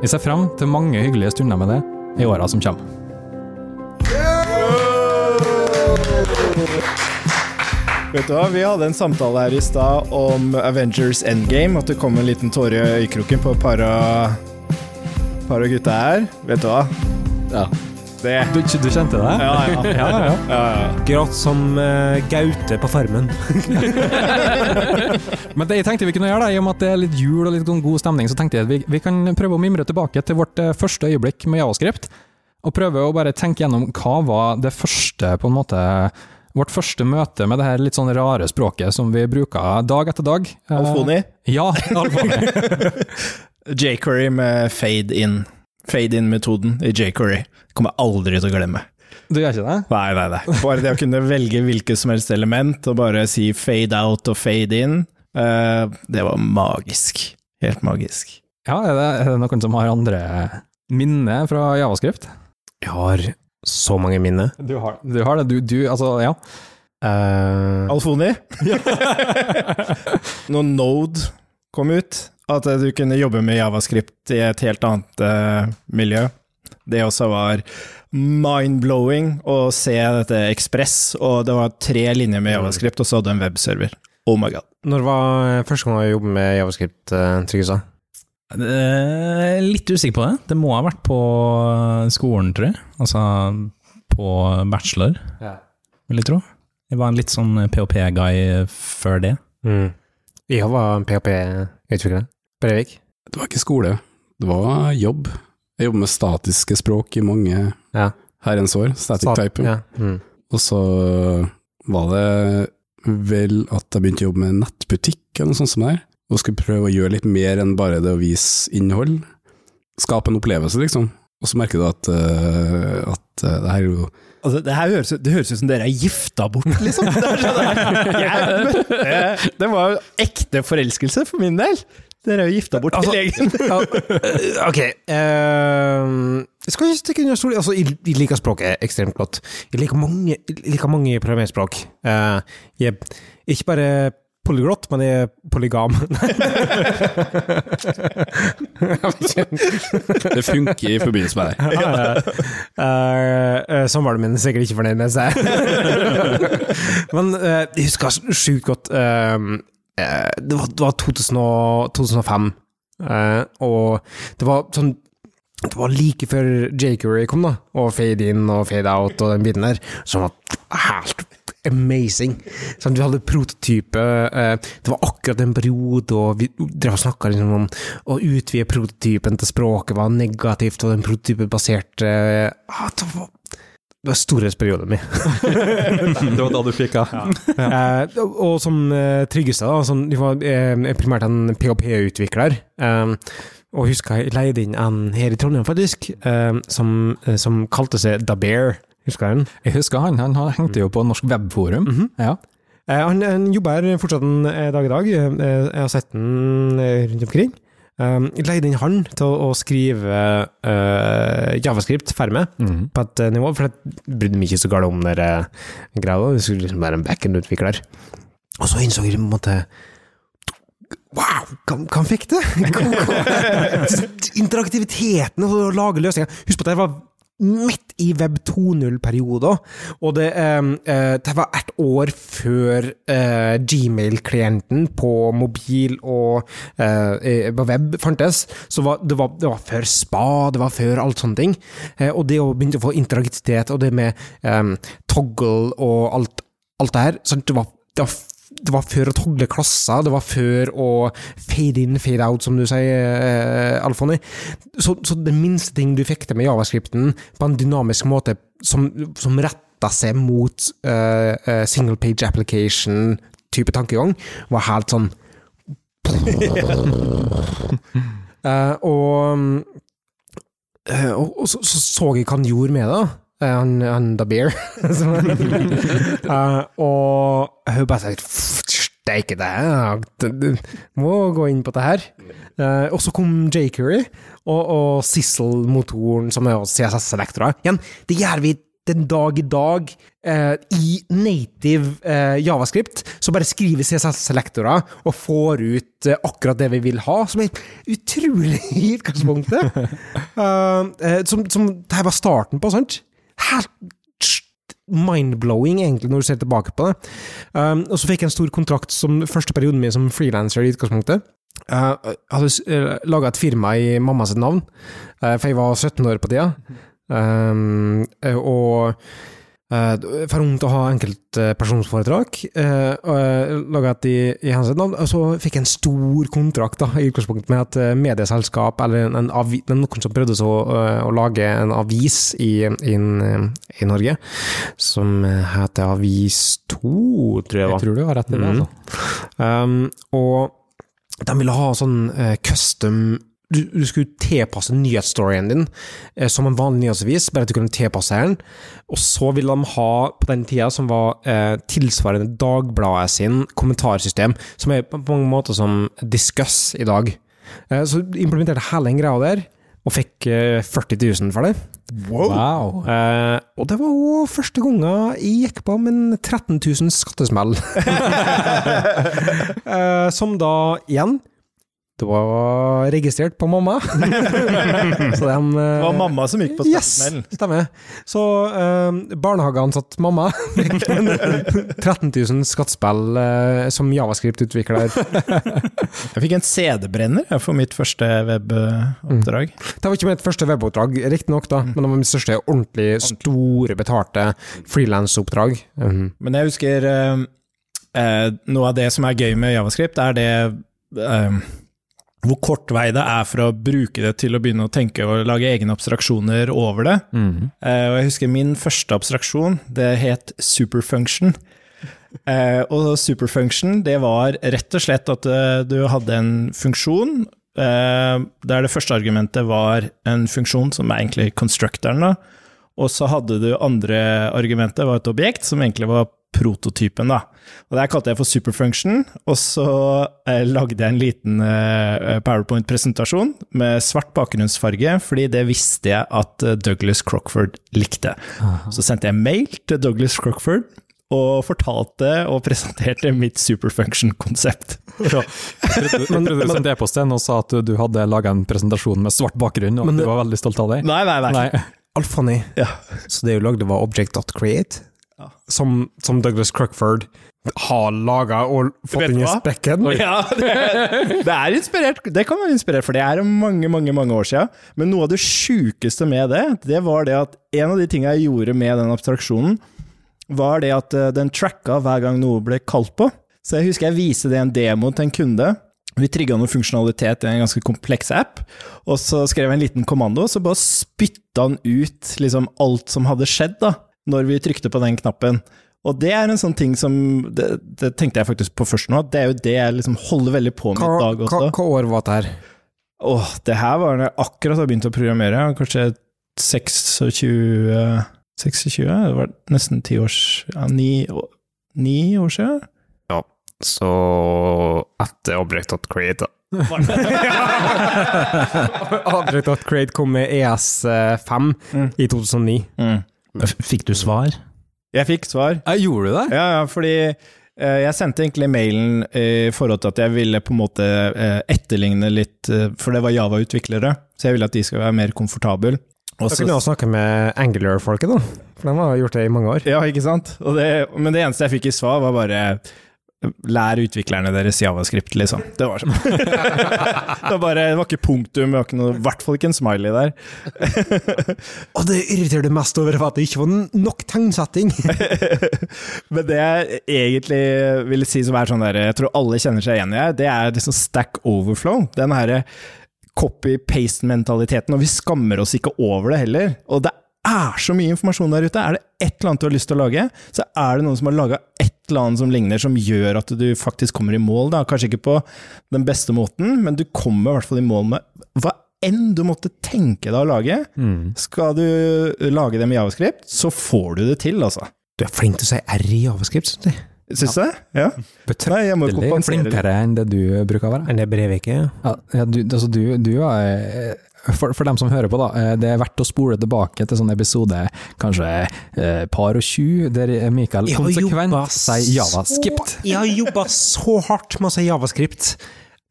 Jeg ser frem til mange hyggelige stunder med deg i åra som kommer. Vet du hva, Vi hadde en samtale her i stad om Avengers Endgame. At det kom en liten tåre i øyekroken på et par av par av gutta her. Vet du hva? Ja. Det Du, du kjente det? Ja, ja. ja, ja. Grått som eh, gaute på farmen. Men det jeg tenkte vi kunne gjøre, da, i og med at det er litt jul og litt sånn god stemning, så tenkte jeg at vi, vi kan prøve å mimre tilbake til vårt eh, første øyeblikk med Javascript, og prøve å bare tenke gjennom hva var det første, på en måte Vårt første møte med det her litt sånn rare språket som vi bruker dag etter dag. Eh, Alfoni. Ja, Alfoni. Jquery med fade in. Fade in-metoden i Jquery. Kommer jeg aldri til å glemme. Du gjør ikke det? Nei, nei, nei. Bare det å kunne velge hvilket som helst element og bare si fade out og fade in, eh, det var magisk. Helt magisk. Ja, er det, er det noen som har andre minner fra javascript? Jeg har så mange minner. Du har det. Du har det, du, du altså, ja. Eh, Alfoni? Når Node kom ut, at du kunne jobbe med javascript i et helt annet eh, miljø. Det også var mind-blowing å se dette Ekspress, og det var tre linjer med javascript, og så hadde du en webserver. Oh my god. når var første gang du jobbet med javascript, eh, Trygve? Eh, Litt usikker på det. Det må ha vært på eh, skolen, tror jeg. Altså på bachelor, Ja. vil jeg tro. Jeg var en litt sånn POP-guy før det. Mm. Jeg var en PHP-utvikler. Brevik. Det var ikke skole, det var jobb. Jeg jobbet med statiske språk i mange Ja. herrens år, static Sa- typing. Ja. Mm. Og så var det vel at jeg begynte å jobbe med nettbutikk eller noe sånt som det her, og skulle prøve å gjøre litt mer enn bare det å vise innhold. Skape en opplevelse, liksom. Og så merker du at, eh, at eh, det her er jo Altså, det her høres, det høres ut som dere er gifta bort, liksom. Det, er sånn her. Jeg møtte, det var jo ekte forelskelse for min del. Dere er jo gifta bort. til egen- Ja, eh, ok. eh, jeg skal ikke stikke under stol. Altså, jeg, jeg liker språket ekstremt godt. Jeg liker mange, jeg liker mange programmerspråk. Eh, jeg er ikke bare polyglott, men jeg er polygam. Det funker i forbindelse med det her. ja. Eh, Samboeren min er sikkert ikke fornøyd med seg. Men eh, jeg husker sjukt godt eh, eh, Det var, det var 2000 og, 2005, eh, og det var sånn det var like før J.Curry kom, da, og fade in og fade out og den biten der, som var helt amazing. Sånn, du hadde prototype eh, Det var akkurat en periode, og vi drev og snakka liksom om å utvide prototypen til språket var negativt, og den prototypen baserte ah, Det var, det var storhetsperioden min. Det var da du fikk det. Eh, og- og som eh, Tryggestad, da, som de var eh, primært en PHP-utvikler. Eh, og husker jeg leide inn en her i Trondheim, faktisk, eh, som, eh, som kalte seg Da Bear. Husker jeg den? Jeg husker han, han, han hengte jo på Norsk Webforum. Mhm. Ja. Eh, han, han jobber her fortsatt en eh, dag i dag. Eh, jeg har sett den eh, rundt omkring. Um, leide inn han til å, å skrive eh, javascript ferdig med Mhm. Mm. på et eh, nivå, for jeg brydde meg ikke så galt om den der, eh, greia. Det skulle liksom være en backend-utvikler. Og så innså jeg på en måte Wow, hva hva han fikk til! Interaktiviteten og å lage løsninger. Husk på at jeg var midt i Web 2.0-perioden, og det, eh, eh, det var ett år før eh, Gmail-klienten på mobil og eh, eh, på web fantes. Så var, det, var, det var før spa, det var før alt sånne ting. Eh, og det å begynne å få interaktivitet, og det med eh, toggle og alt, alt det her, sant, det var, det var det var før å togle klasser, det var før å fade in, fade out, som du sier, eh, Alfoni. Så, så det minste ting du fikk til med javascripten, på en dynamisk måte som, som retta seg mot eh, eh, single page application-type tankegang, var helt sånn Eh, og, eh, og, og så, så så jeg hva han gjorde med det. Eh, han, han Da Beer. som- Eh, og hun bare sier Steike, det her det- det- Må gå inn på det her. Eh, og så kom J.Curry og, og Sissel-motoren, som er CSS-selektorer. Igjen, det gjør vi den dag i dag eh, i native eh, javascript. Så bare skriver CSS-selektorer og får ut eh, akkurat det vi vil ha, som er utrolig i utgangspunktet. Eh, eh, som, som det her var starten på, sant? Helt mind-blowing, egentlig, når du ser tilbake på det. Um, og så fikk jeg en stor kontrakt som første perioden min som frilanser i utgangspunktet. Uh, jeg hadde uh, laga et firma i mamma sitt navn, uh, for jeg var 17 år på tida. Um, uh, og uh, for ung til å ha enkeltpersonsforedrag. Uh, og jeg laga et i, i hans navn, og så fikk jeg en stor kontrakt da, i utgangspunktet med et uh, medieselskap, eller en, en avi, noen som prøvde så, uh, å lage en avis i, i, eh, i Norge som eh, heter Avis 2, tror jeg det Jeg var. tror du har rett i det. altså. Um, og de ville ha sånn eh, custom du, du skulle tilpasse nyhetsstoryen din eh, som en vanlig nyhetsavis, bare at du kunne tilpasse den. Og så ville de ha, på den tida som var eh, tilsvarende Dagbladet sin kommentarsystem, som er på mange måter som Discuss i dag. Eh, så implementerte hele den greia der, og fikk eh, 40 000 for det. Wow. Eh, og det var òg første gangen jeg gikk på med en 13 000 skattesmell. Eh, som da, igjen Det var registrert på mamma. Så eh, den Det var mamma som gikk på spørsmål. Yes, stemmer. Så eh, barnehageansatt mamma fikk en 13 000 skattespill eh, som javascript-utvikler. Jeg fikk en CD-brenner jeg, for mitt første eh, web-oppdrag. Det var ikke mitt første weboppdrag, riktignok, da, men det var mitt største ordentlig store betalte frilansoppdrag. Mhm. Men jeg husker eh, eh, noe av det som er gøy med javascript, er det eh, hvor kort vei det er for å bruke det til å begynne å tenke og lage egne abstraksjoner over det. Eh, og jeg husker min første abstraksjon, det het superfunction. Eh, og superfunction, det var rett og slett at eh, du hadde en funksjon, eh, der det første argumentet var en funksjon som er egentlig constructoren, da. Og så hadde du andre argumentet, var et objekt som egentlig var prototypen, da. Og det her kalte jeg for superfunction, og så eh, lagde jeg en liten eh, powerpoint-presentasjon med svart bakgrunnsfarge, fordi det visste jeg at eh, Douglas Crockford likte. Så sendte jeg mail til Douglas Crockford, og fortalte og presenterte mitt superfunction-konsept. Men, men, sendte e-post til henne og sa at du, du hadde laga en presentasjon med svart bakgrunn, og at du var veldig stolt av deg. Nei, nei, nei. Nei. Alfani. Ja. Så det hun lagde, var Object.create, som, som Douglas Crockford har laga og fått Vet inn du i hva? sprekken. Ja, det, er- det er inspirert. Det kan være inspirert, for det er mange, mange mange år siden. Men noe av det sjukeste med det, det var det at en av de tingene jeg gjorde med den abstraksjonen, var det at eh, den tracka hver gang noe ble kalt på. Så jeg husker jeg viste det i en demo til en kunde. Vi trigga noe funksjonalitet i en ganske kompleks app, og så skrev jeg en liten kommando, og så bare spytta han ut liksom alt som hadde skjedd da, når vi trykte på den knappen. Og det er en sånn ting som Det, det tenkte jeg faktisk på først nå, at det er jo det jeg liksom holder veldig på med Hva, i dag hva, også. hva år var det her? Åh, det her var når jeg akkurat har begynt å programmere, kanskje 26 26, det var nesten 10 år siden, ja, 9, år siden. Så etter object.create, da. Object.create kom med ES5 Mm. i 2009. F- Fikk du svar? Jeg fikk svar. gjorde du det? Ja, ja, fordi eh, jeg sendte egentlig mailen eh, i forhold til at jeg ville på en måte eh, etterligne litt eh, For det var Java-utviklere, så jeg ville at de skal være mer komfortable. Og Da så- kunne jeg også snakke med Angular-folket, da. For de har gjort det i mange år. ja, ikke sant? Og det, men det eneste jeg fikk i svar, var bare Lær utviklerne deres javascript, liksom. Det var sånn. det, var bare, det var ikke punktum, det var ikke noe, i hvert fall ikke en smiley der. Og det irriterer det mest over at det ikke var nok tegnsetting! Men det jeg egentlig vil si som er sånn der, jeg tror alle kjenner seg igjen i her, det er liksom stack overflow. Den her copy-paste-mentaliteten, og vi skammer oss ikke over det heller. Og det er så mye informasjon der ute. Er det et eller annet du har lyst til å lage, så er det noen som har laga et eller annet som ligner, som gjør at du faktisk kommer i mål. Da. Kanskje ikke på den beste måten, men du kommer i hvert fall i mål med hva enn du måtte tenke deg å lage. Skal du lage det med javascript, så får du det til, altså. Du er flink til å si R i javascript, syns jeg. Syns du det? Ja. Nei, jeg må jo Veldig kompensere litt. Flinkere enn det du bruker å være. Men det brevet ikke Ja, ja du, altså du, du er for, for dem som hører på, da, eh, det er verdt å spole tilbake til sånn episode kanskje eh, par og tjue, der Mikael Jeg har konsekvent jobba sier javascript. Jeg har jobba så hardt med å si javascript,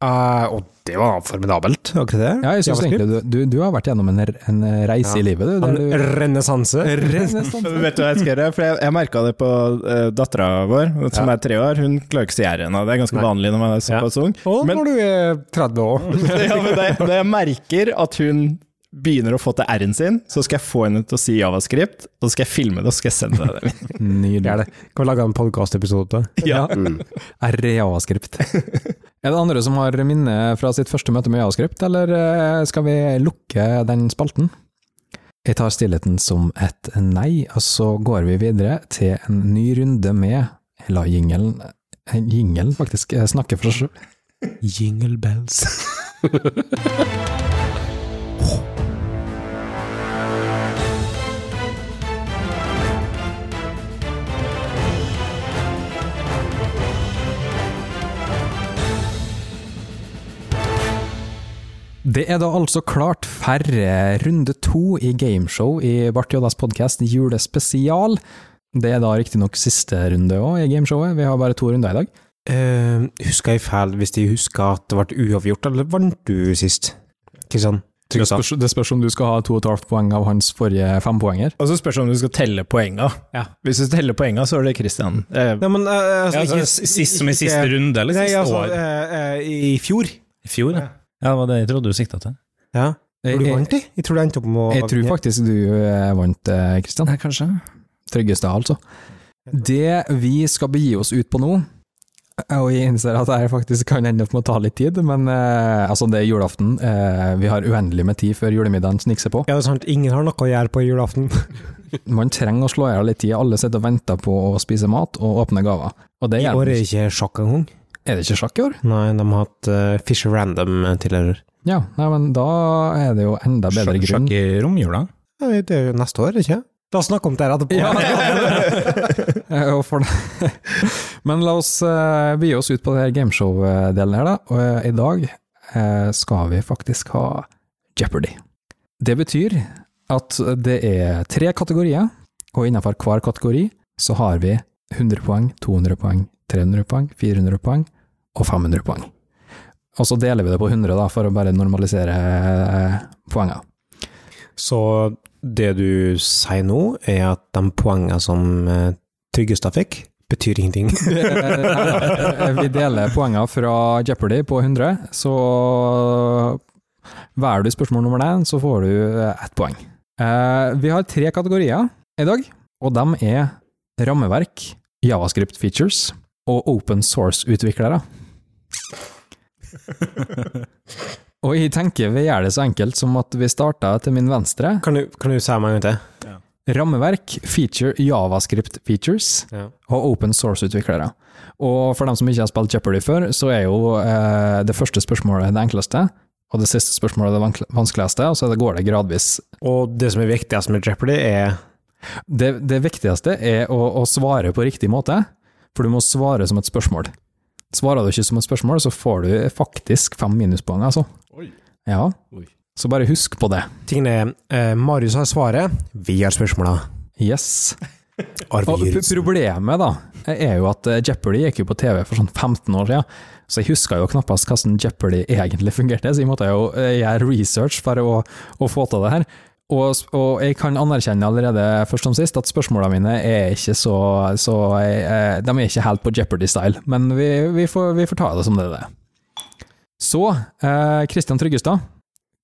Eh, og det var formidabelt, var ikke det? Ja, jeg synes Javascript. egentlig du, du, du har vært gjennom en, r- en reise i livet, du. Der du Renessanse. Vet du hva jeg skal gjøre? For jeg, jeg merka det på uh, dattera vår, som er tre år. Hun klarer ikke å si r ennå. Det er ganske vanlig når man er såpass ung. Og Men- når du er 30 år. ja, men da, jeg, da jeg merker at hun begynner å få til r-en sin, så skal jeg få henne til å si javascript, og så skal jeg filme det og så skal jeg sende det. Det Nydelig. er det. Kan vi lage en podkastepisode til det? Ja. R i javascript. Er det andre som har minne fra sitt første møte med javascript, eller eh, skal vi lukke den spalten? Jeg tar stillheten som et nei, og så går vi videre til en ny runde med Jeg la jingelen eh, Jingelen, faktisk, eh, snakke for seg selv. Jingle bells. Det er da altså klart færre runde to i gameshow i Bart Joddas podkast julespesial. Det er da riktignok siste runde òg i gameshowet, vi har bare to runder i dag. Uh, husker jeg feil hvis de husker at det ble uavgjort, eller vant du sist? Kristian? Det spørs, det spørs om du skal ha to og et halvt poeng av hans forrige fempoenger. Og så spørs det om du skal telle poenga. Ja. Hvis du teller poenga, så er det Christian. Eh, Nei, men eh, altså, Ja, ikke- altså, sist som i siste runde, eller Nei, siste altså, år? eh, eh, I fjor. I fjor, ja. ja. Det var det jeg trodde du sikta til. Ja. Jeg, Har du jeg, vant de? Jeg tror det endte opp med å Eh, jeg tror faktisk du eh, vant, eh, Kristian. Nei, kanskje. Tryggeste, altså. Det vi skal begi oss ut på nå, eh, og jeg innser at jeg faktisk kan ende opp med å ta litt tid, men eh, altså, det er julaften. Eh, vi har uendelig med tid før julemiddagen snikser på. Ja, det er sant. Ingen har noe å gjøre på julaften. Man trenger å slå i hjel litt tid. Alle sitter og venter på å spise mat og åpne gaver. Og det I gjør år er man det ikke. ikke sjakk engang. Er det ikke sjakk i år? Nei, de har hatt eh, Fisher Random tidligere. Ja, nei, men da er det jo enda bedre Sjakk- grunn. Sjakk i romjula? Nei, Det er jo neste år, ikke La oss snakke om det her etterpå. Eh, og for Men la oss uh, begi oss ut på det her gameshow-delen her, da. Og eh, i dag eh, skal vi faktisk ha Jeopardy. Det betyr at det er tre kategorier, og innenfor hver kategori så har vi 100 poeng, 200 poeng, 300 poeng, 400 poeng og 500 poeng. Og så deler vi det på 100, da, for å bare normalisere eh, poengene. Så det du sier nå, er at de poengene som eh, Tryggestad fikk, betyr ingenting. Eh, Vi deler poenger fra Jeopardy på 100, så velger du spørsmål nummer 1, så får du eh, ett poeng. Eh, Vi har tre kategorier i dag, og de er rammeverk, javascript features og open source-utviklere. Og jeg tenker vi gjør det så enkelt som at vi starter til min venstre. Kan du, kan du si meg en gang til? Rammeverk, feature, javascript features Ja. og open source-utviklere. Og for dem som ikke har spilt Jeopardy før, så er jo eh, det første spørsmålet det enkleste, og det siste spørsmålet det vankle- vanskeligste, og så er det- går det gradvis. Og det som er viktigst med Jeopardy, er Det, det viktigste er å, å svare på riktig måte, for du må svare som et spørsmål. Svarer du ikke som et spørsmål, så får du faktisk fem minuspoeng, altså. Ja. Oi. Så bare husk på det. Tingen er, eh, Marius har svaret, vi har spørsmåla. Yes. Arve Og pro- Jørgensen. problemet da, er jo at eh, Jeopardy gikk jo på TV for sånn 15 år siden, så jeg husker jo knappast hvordan Jeopardy egentlig fungerte, så jeg måtte jo eh, gjøre research for å, å få til det her. Og, s- og jeg kan anerkjenne allerede først som sist at spørsmålene mine er ikke så, så eh, De er ikke helt på Jeopardy-style, men vi, vi, får, vi får ta det som det det er. Så, eh, Kristian Tryggestad,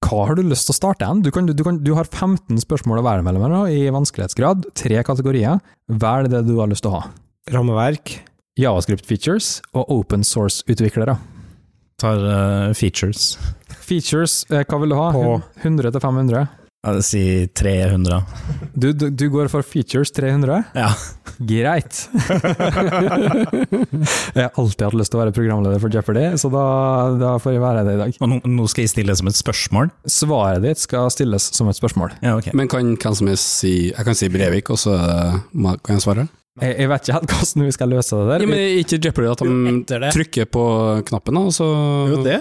hva har du lyst til å starte en? Du, kan, du, kan, du har 15 spørsmål å være mellom her nå, i vanskelighetsgrad, tre kategorier. Velg det du har lyst til å ha. Rammeverk. JavaScript features og open source-utviklere. Tar eh, features. Features, eh, hva vil du ha? På- 100 til 500? Jeg sier 300. Du, du, du går for features 300? Ja. Greit. jeg har alltid hatt lyst til å være programleder for Jeopardy, så da, da får jeg være det i dag. Og nå, nå skal jeg stille det som et spørsmål? Svaret ditt skal stilles som et spørsmål. Ja, ok. Men kan hvem som helst si Jeg kan si Brevik, og så eh, må- kan jeg svare? Jeg, jeg vet ikke helt hvordan vi skal løse det der. Ja, men er ikke Jeopardy at etter de det. Mm. trykker på knappen, da, og så Jo, det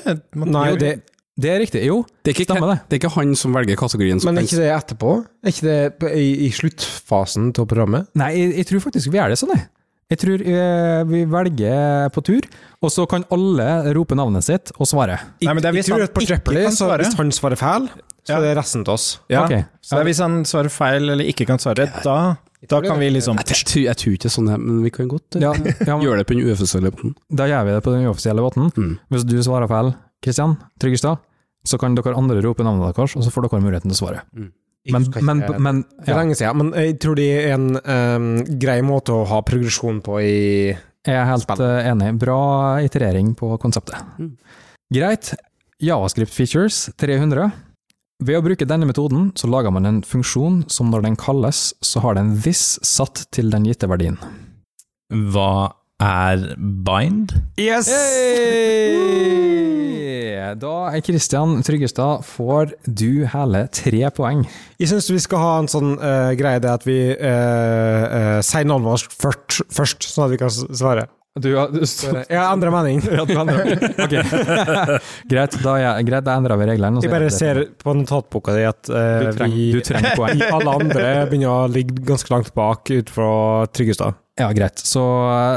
Nei, jo, det, det er riktig. Jo, det, er ikke, stemmer det. det er ikke han som velger kategorien. Som Men er tenker- ikke det etterpå? Er ikke det på- i, i sluttfasen av programmet? Nei, jeg, jeg tror faktisk vi er det sånn, jeg. Jeg tror eh, vi velger på tur, og så kan alle rope navnet sitt og svare. Nei, men det er Jeg hvis han tror at på ikke Jeopardy, kan så svare. hvis han svarer feil, så Ja. er det resten av oss. Ja. Ok. Så det er hvis han svarer feil eller ikke kan svare, da, da kan vi liksom Jeg, tror- jeg tror ikke sånn, er, men vi kan godt eh, Ja, ja, men gjøre det på den uoffisielle måten. da gjør vi det på den uoffisielle båten. Mm. Hvis du svarer feil, Kristian Tryggestad, så kan dere andre rope navnet deres, og så får dere muligheten til å svare. Men, Skal ikke- men, men Det er ja, lenge siden, men jeg tror det er en ehm, grei måte å ha progresjon på i jeg er helt eh, enig. Bra iterering på konseptet. Mm. Greit. JavaScript features 300. Ved å bruke denne metoden, så lager man en funksjon som når den kalles, så har den this satt til den gitte verdien. Hva er bind? Yes! Hey! Da er Kristian Tryggestad, får du hele tre poeng. Jeg syns vi skal ha en sånn eh, greie det at vi eh, eh, sier navnet vårt først, først, sånn at vi kan s- svare. Du, Bare, Jeg har endra mening. greit, da, er jeg- greit, da endrer vi reglene. og så Jeg bare er det- ser på notatboka di at eh, du trenger, vi du trenger poeng. alle andre begynner å ligge ganske langt bak ut fra Tryggestad. Ja, greit. Så,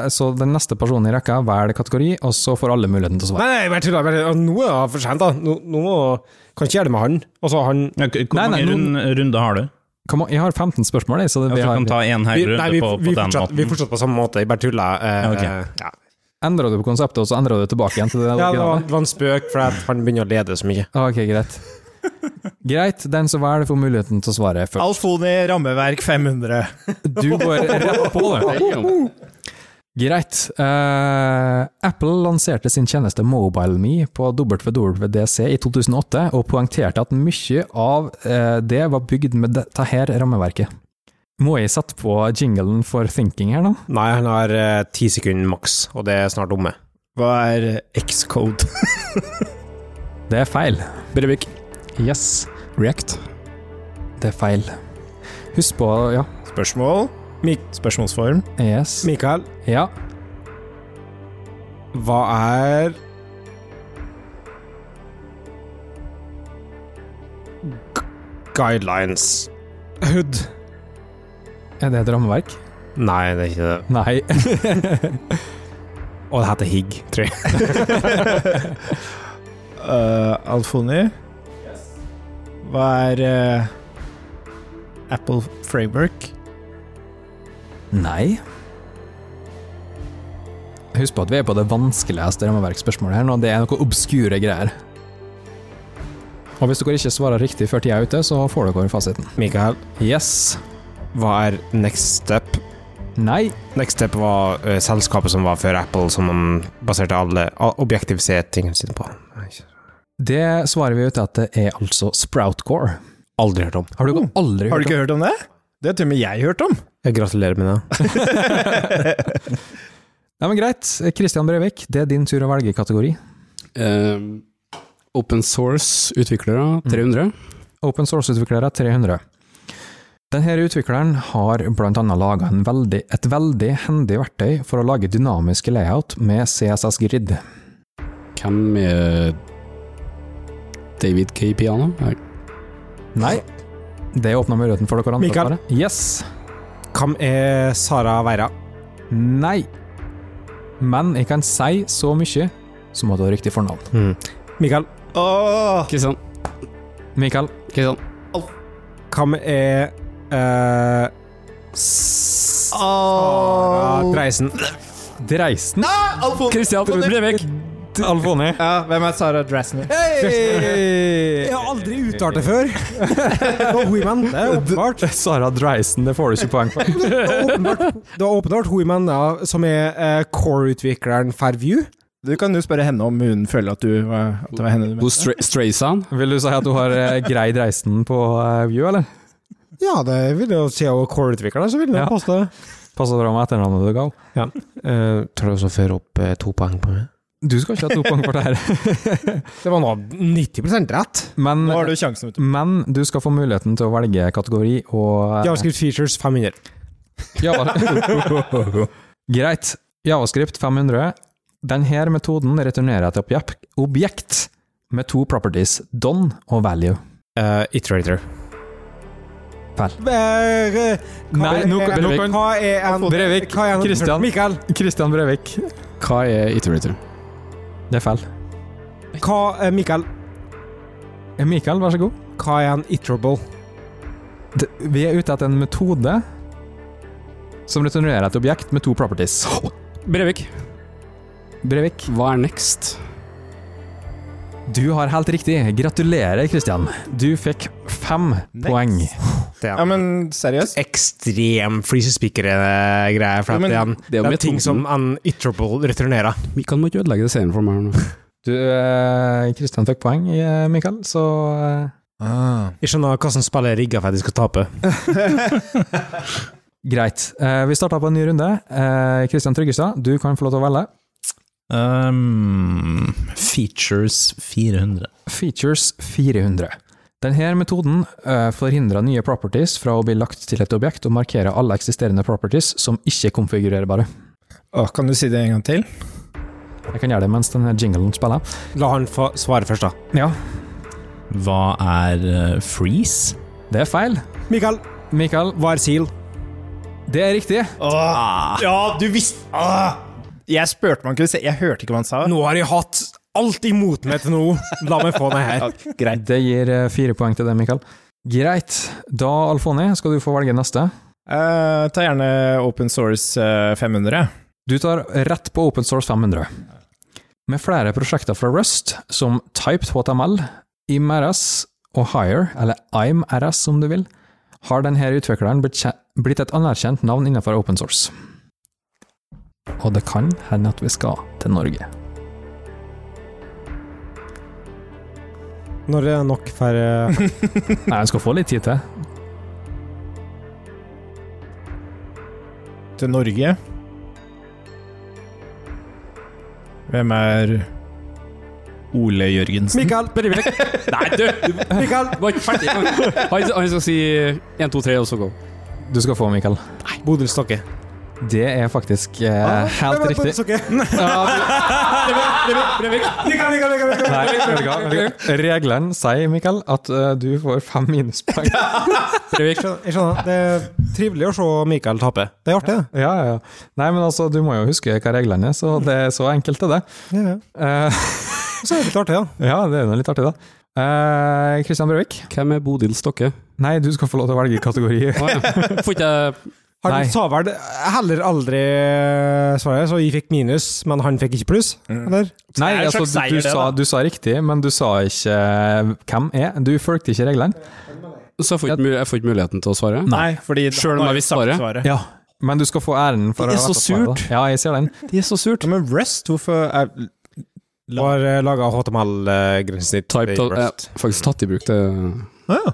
eh, så den neste personen i rekka velger kategori, og så får alle muligheten til å svare. Nei, nei, bare tuller. bare- Nå er det for sent, da. Nå, nå må- kan ikke gjøre det med han. Altså, han Ja, k- Hvor Nei, nei, mange rund, runder har du? Kom, an, jeg har 15 spørsmål, jeg, så det, vi Ja, så du har kan ta én her vi, runde nei, vi, på, på vi, den fortsatt, vi måten. fortsatt på samme måte. Jeg bare tuller. eh, Ja, ja. Endrer du på konseptet, og så endrer du tilbake igjen til det Ja, det var, originale? Ah, det var en spøk, for at han begynner å lede så mye. Ok, greit. Greit, den som velger, får muligheten til å svare først. Alfoni rammeverk 500. Du går rett på det. Greit. Eh, Apple lanserte sin tjeneste MobileMe på WWDC i 2008, og poengterte at mye av eh, det var bygd med dette her rammeverket. Må jeg sette på jinglen for thinking her nå? Nei, han har eh, ti sekunder maks, og det er snart omme. Hva er X-code? Det er feil. Brevik, Yes, React. det er feil. Husk på Ja. Spørsmål? Spørsmålsform. Yes. Mikael, Ja. hva er Gu- Guidelines. Hood. Er det et rammeverk? Nei, det er ikke det. Nei. Og det heter Higg, tror jeg. Uh, Alfoni? Hva er eh, Apple Framework? Nei. Husk på at vi er på det vanskeligste rammeverksspørsmålet her nå. Det er noe obskure greier. Og hvis dere ikke svarer riktig før tida er ute, så får dere fasiten. Mikael, Yes. hva er next step? Nei. Next step var eh, selskapet som var før Apple, som man baserte alle a- objektivisert-tingene sine på. Nei, ikke- Det svaret vi er ute etter, er altså Sproutcore. Aldri hørt om. Har du aldri Har du hørt om ikke hørt om det? Det har til og med jeg hørt om. Jeg gratulerer med det. Nei, men greit. Kristian Brevik, det er din tur å velge kategori. Eh, Mm. open source, utviklere, 300. Open source-utviklere 300. Denne utvikleren har bl.a. laga veldig, et veldig hendig verktøy for å lage dynamiske layout med CSS Grid. Hvem er David K. Piano? Nei. Nei, det åpna muligheten for dere andre. Mikael. å svare. Yes. Hvem er Sara Veira? Nei. Men jeg kan si så mye som at du har riktig fornavn. Mikael, Åh, Kristian. Mikael. Kristian. hvem er eh, Sara Dreisen? Dreisen. Ah, Kristian Brevik. Alfoni. ja, hvem er Sara Dressner? Jeg har aldri uttalt det før! Det var Hoiman. Det er åpenbart. Sara Dreisen, det får du ikke poeng for. Det er åpenbart, det er åpenbart Hoiman, ja, som er eh, core-utvikleren Fairview. Du kan jo spørre henne om hun føler at, du, var- at det var henne du mente. Hos Stra- Straysound? Vil du si at du har eh, grei Dreisen på eh, View, eller? Ja, det vil jo si hun er core-utvikler, så vil jeg Ja. påstå det. Passer bra med etternavnet du ga. Uh, tror du også fører opp eh, to poeng på meg? Du skal ikke ha to poeng for det her. Det var nå 90 rett. Men Nå har du sjansen, vet du. Men du skal få muligheten til å velge kategori og eh, JavaScript features 500. Java- Greit. Javascript 500. Denne metoden returnerer et objek- objekt med to properties, don og value. Uh, iterator. Vel. Eh, Nei, nå- hva, er- nå kan- hva er en Brevik, hva er en- Christian. Mikael, Kristian Brevik. Hva er Iterator? Det er feil. hva, eh, Mikael, Mikael, vær så god. hva er en iterable? D- Vi er ute etter en metode som returnerer et objekt med to properties. Brevik. Brevik, Hva er next? du har helt riktig. Gratulerer, Kristian. Du fikk fem poeng. Ja, men seriøst? Ekstrem flis greier for Jo, at men det er, en, Det er jo det er ting metoden. som en iterable returnerer. Vi kan må ikke ødelegge scenen for meg her nå. Du, eh, Kristian fikk poeng, eh, Mikael, så eh, Ah. Jeg skjønner hvordan spillet er rigga for at de skal tape. Greit. Eh, vi starter på en ny runde. Kristian Tryggestad, du kan få lov til å velge. Um, features 400. Features 400. Denne metoden eh, forhindrer nye properties fra å bli lagt til et objekt, og markerer alle eksisterende properties som ikke er konfigurerbare. Åh, kan du si det en gang til? Jeg kan gjøre det mens denne jinglen spiller. La han få svare først, da. Ja, Hva er eh, freeze? det er feil. Mikael, Mikael, hva er seal? det er riktig. Ja, du visste Åh! Jeg spurte man kunne se, Ah. jeg hørte ikke hva han sa. Nå har jeg hatt alt imot meg til nå. La meg få det her. Greit. Det gir eh, fire poeng til deg, Mikael. Greit. Da, Alfoni, skal du få velge neste. Eh, ta gjerne Open Source eh, 500. Du tar rett på Open Source 500. Med flere prosjekter fra Rust, som Typed HTML, IMRS og Hire, eller IMRS som du vil, har denne utvikleren blitt, kje- blitt et anerkjent navn innenfor open source. Og det kan hende at vi skal til Norge. Når er det nok for eh, Nei, vi skal få litt tid til. Til Norge. Hvem er Ole Jørgensen? Mikael, Brevik. Nei, du! du Mikael, var ikke ferdig engang. Han, han skal si 1, 2, 3, og så gå. Du skal få, Mikael. Bodil Stokke. Det er faktisk eh, helt riktig. Nei, vet du hva? Vet du hva? Reglene sier, Mikael, at eh, du får fem minuspoeng. Brevik. Jeg skjønner. Det er trivelig å se Mikael tape. Det er artig, det. Ja, ja, ja. Nei, men altså, du må jo huske hva reglene er, så det er så enkelt er det. Ja, ja. Eh, Så er det litt artig, da. ja, det er jo litt artig, da. Eh, Kristian Brøvik, Hvem er Bodil Stokke? nei, du skal få lov til å velge kategori. Å, ja. Får ikke jeg Han Nei. sa vel heller aldri eh, svaret, så jeg fikk minus, men han fikk ikke pluss. Mm. Eller? Nei, Det er en altså, slags seier, du, du, det, sa, da. du sa riktig, men du sa ikke eh, hvem er. Du fulgte ikke reglene. Så jeg får ikke, mul- jeg får ikke muligheten til å svare? Nei, fordi Selv om han har jeg jo sagt svarer. Ja. Men du skal få æren for Det ha er vært så å svare, da. surt. Ja, jeg ser den. De er så surt. Ja, men Rust, hvorfor er eh, Var uh, laga HTML-grensesnitt. Typed, jeg har faktisk tatt i bruk det. ah,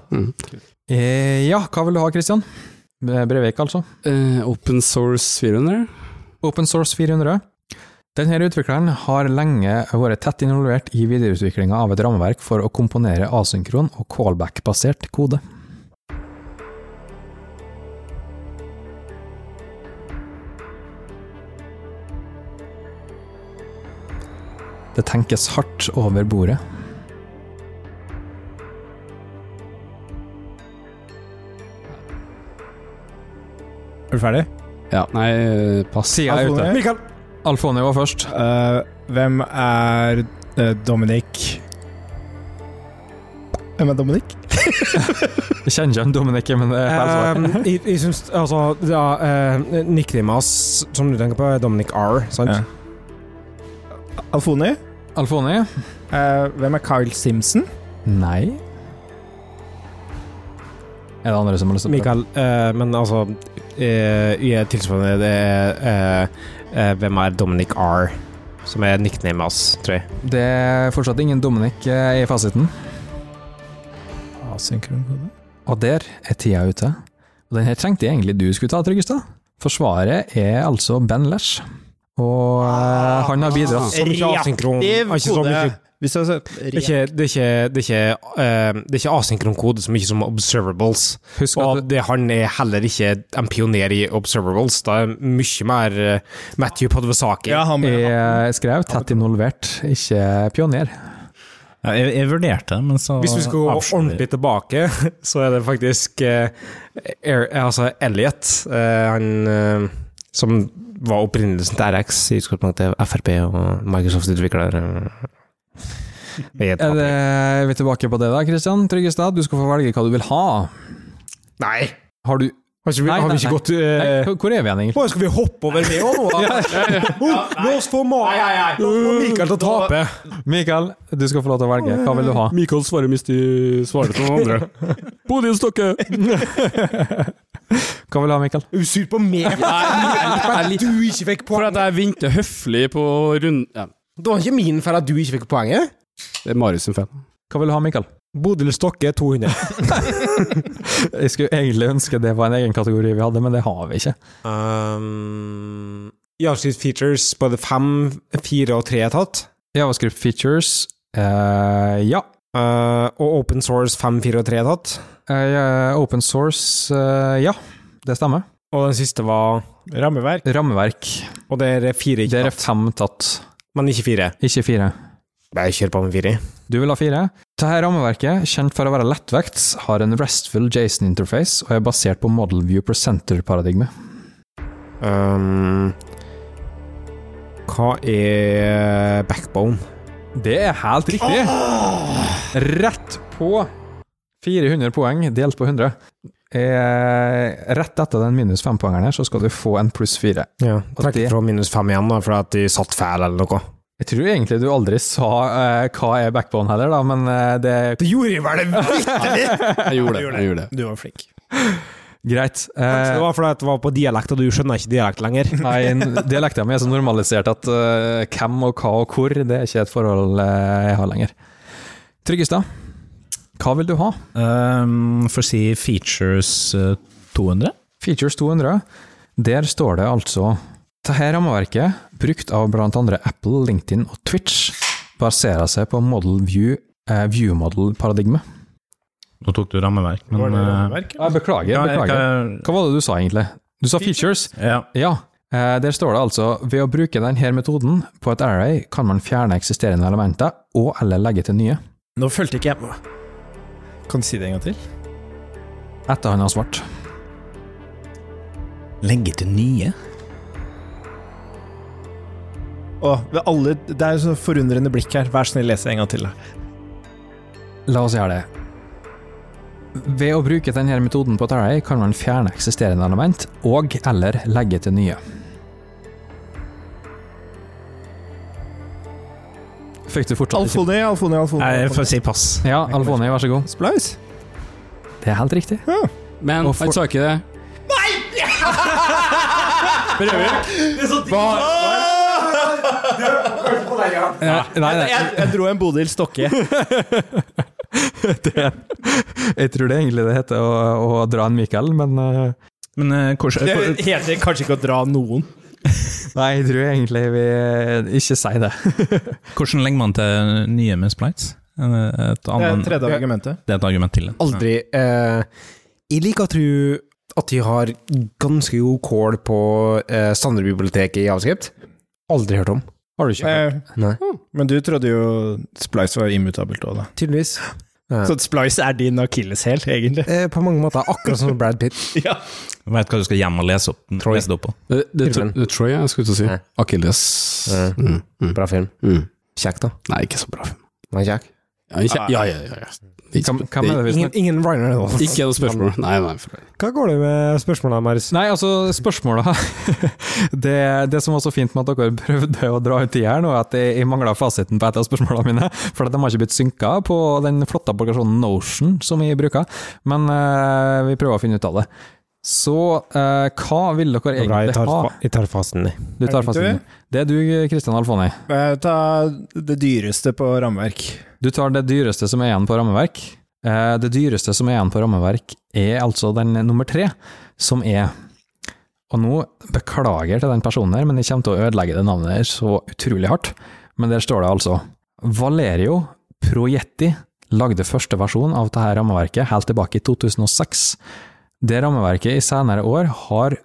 Eh, ja, hva vil du ha, Kristian? Brevik, altså. Eh, open Source 400? Open Source 400. Denne utvikleren har lenge vært tett involvert i videreutviklinga av et rammeverk for å komponere asynkron og callback-basert kode. Det tenkes hardt over bordet. Er du ferdig? Ja, nei, eh, pass. Tida er ute. Mikael! Alfonio var først. Eh, hvem er eh, Dominic? Hvem er Dominic? Jeg kjenner ikke han Dominic, men det er feil svar. Eh, jeg, jeg syns altså ja, eh, Nicknamet hans, som du tenker på, er Dominic R, sant? Ja. Alfoni? Alfoni? Eh, hvem er Kyle Simpson? Nei. Er det andre som har lyst til å prøve? Mikael, eh, men altså eh, I et tilsvarende det er eh, eh, Hvem er Dominic R? Som er nicknamet hans, tror jeg. Det er fortsatt ingen Dominic eh, i fasiten. Asynkron kode. Og der er tida ute. Og den her trengte jeg egentlig du skulle ta, Tryggestad. Forsvaret er altså Ben Lesh. Og eh, han har bidratt Så mye asynkron Reaktiv ikke så mye- kode. Hvis jeg har sett Det er ikke, det er ikke, det er ikke, eh, det er ikke asynkron kode så mye som observables. Ah. Husk Og at det, han er heller ikke en pioner i observables. Det er mye mer eh, Matthew Podvesaki. Ja, han det er skrevet tett involvert, ikke pioner. Ja, jeg, jeg vurderte det, men så Hvis vi skal gå avslo vi. ordentlig tilbake, så er det faktisk eh, Air, altså Elliot, eh, han eh, som var opprinnelsen til RX i utgangspunktet Frp og Microsoft-utvikler. eh, i et Er det, er vi tilbake på det da, Kristian Tryggestad? Du skal få velge hva du vil ha. Nei! Har du Har, ikke, vi- Nei, har nei, vi ikke nei. gått eh, Nei, Hvor er vi igjen, egentlig? Å, skal vi hoppe over det òg nå? da? Oh, La oss få Ma- La oss få Mikael til å tape. Mikael, du skal få lov til å velge. Hva vil du ha? Mikael svarer hvis de svarer til noen andre. Bodil Stokke! Hva vil du ha, Mikael? Er du sur på meg for at du ikke fikk For poenget? at jeg vinter høflig på runden ja. Det var ikke min feil at du ikke fikk poenget. Det er Marius sin feil. Hva vil du ha, Mikael? Bodil Stokke 200. Jeg skulle egentlig ønske det var en egen kategori vi hadde, men det har vi ikke. Um, JavaScript features, både fem, fire og tre er tatt. Javascript features eh, Ja. Uh, og open source fem, fire og tre er tatt. Eh, ja, open source eh, Ja, det stemmer. Og den siste var Rammeverk. Rammeverk. Og der er fire ikke Der er tatt, fem tatt, men ikke fire. ikke fire. Nei, kjør på med fire. Du vil ha fire. Dette rammeverket, kjent for å være lettvekt, har en restful Jason-interface og er basert på model view presenter-paradigmet. Um, hva er backbone? Det er helt riktig! Rett på 400 poeng delt på 100. Eh, rett etter den minus fem-poengeren her, så skal du få en pluss fire. Ja, Og Trekk det- fra minus fem igjen, da, fordi at de satt feil eller noe. Jeg tror egentlig du aldri sa eh, hva er backbone heller, da, men eh, det Det gjorde jeg vel det vitterlig! Jeg gjorde det. jeg gjorde det. Du var flink. Greit. Kanskje det Eh, var fordi at det var på dialekt, og du skjønner ikke dialekt lenger. nei, n- dialekten min er så normalisert at eh, hvem og hva og hvor, det er ikke et forhold eh, jeg har lenger. Tryggestad, hva vil du ha? Um, for å si features eh, 200? Features 200. Der står det altså Dette rammeverket, brukt av blant andre Apple, LinkedIn og Twitch, baserer seg på model view, eh, view model-paradigmet. Nå tok du rammeverk, men Var det eh, rammeverk? Ja, beklager, ja, jeg beklager. kan- Hva var det du sa egentlig? Du sa features. ja. Ja, eh, der står det altså ved å bruke denne metoden på et array kan man fjerne eksisterende elementer og eller legge til nye. Nå fulgte ikke jeg med. Kan du si det en gang til? Etter han har svart. Legge til nye? Å, ved alle, det er jo så forundrende blikk her. Vær snill, les det en gang til. da. La oss gjøre det. Ved å bruke denne metoden på et array kan man fjerne eksisterende element og eller legge til nye. Fikk du fortsatt ikke- Alfoni, Alfoni, Alfoni. Nei, jeg får si pass. Ja, Alfoni, vær så god. Splaus. Det er helt riktig. Men Og for- han sa ikke det. Nei, nei. Jeg, jeg dro en Bodil Stokke. Jeg tror det egentlig det heter å, å dra en Mikael, men eh, Men eh, hvordan Det hvor- heter kanskje ikke å dra noen. Nei, jeg tror egentlig vi ikke sier det. hvordan legger man til nye med splites? Eh, Et Det er annet, tredje argumentet. det er et argument til. Aldri. Eh, jeg liker å tro at de har ganske god kål på eh, Standardbiblioteket i Javascript. Aldri hørt om. Har du ikke hørt? Nei, Nei. hmm. men du trodde jo Splice var immutabelt òg, da. Tydeligvis. Ja. Så Splice er din akilleshæl, egentlig. Eh, på mange måter akkurat som Brad Pitt. Ja. Jeg vet hva du skal hjem og lese, opp, lese det opp på. Det, det, Filmen. det tror jeg jeg skulle til å si. Nei. Akilles. Nei. Mm, mm, Bra film. mm. Kjekk, da. Nei, ikke så bra film. Nei, kjekk. Ja, ikke, ja, ja, ja, ja. Det er Ah. Hvem, Ikke, hvem er det vi Ingen, snakker ingen Ryan Reynolds. ikke noe spørsmål. Nei, nei. For, Hva går det med spørsmålene, Marius? Nei, altså, spørsmålet her det, det som var så fint med at dere prøvde å dra ut tida her nå, er at jeg, jeg mangla fasiten på et av spørsmålene mine. For at de har ikke blitt synka på den flotte applikasjonen Notion som vi bruker. Men eh, vi prøver å finne ut av det. Så eh, hva vil dere Det er Bra, jeg egentlig tar, ha? fa- jeg tar fasten i. Du tar Er det fasiten. du? Det er du, Kristian Alfoni. Eh, Ta det dyreste på rammeverk. Du tar det dyreste som er igjen på rammeverk. Eh, Det dyreste som er igjen på rammeverk, er altså den nummer tre, som er Og nå beklager til den personen her, men jeg kommer til å ødelegge det navnet her så utrolig hardt. Men der står det altså Valerio Proietti lagde første versjon av dette rammeverket helt tilbake i 2006. Det rammeverket i senere år har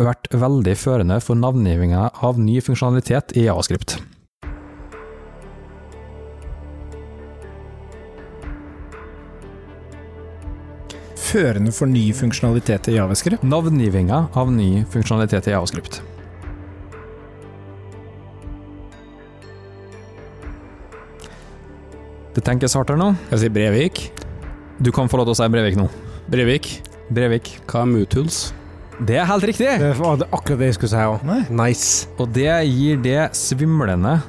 vært veldig førende for navngivinga av ny funksjonalitet i Javascript. Førende for ny funksjonalitet i Javascript. Navngivinga av ny funksjonalitet i Javascript. Det tenkes hardt her nå. jeg sier Brevik. Du kan få lov til å si Brevik nå. Brevik. Brevik. Hva er Mootules? Det er helt riktig! Det var det- akkurat det jeg skulle si òg. Nei. Nice. Og det gir det svimlende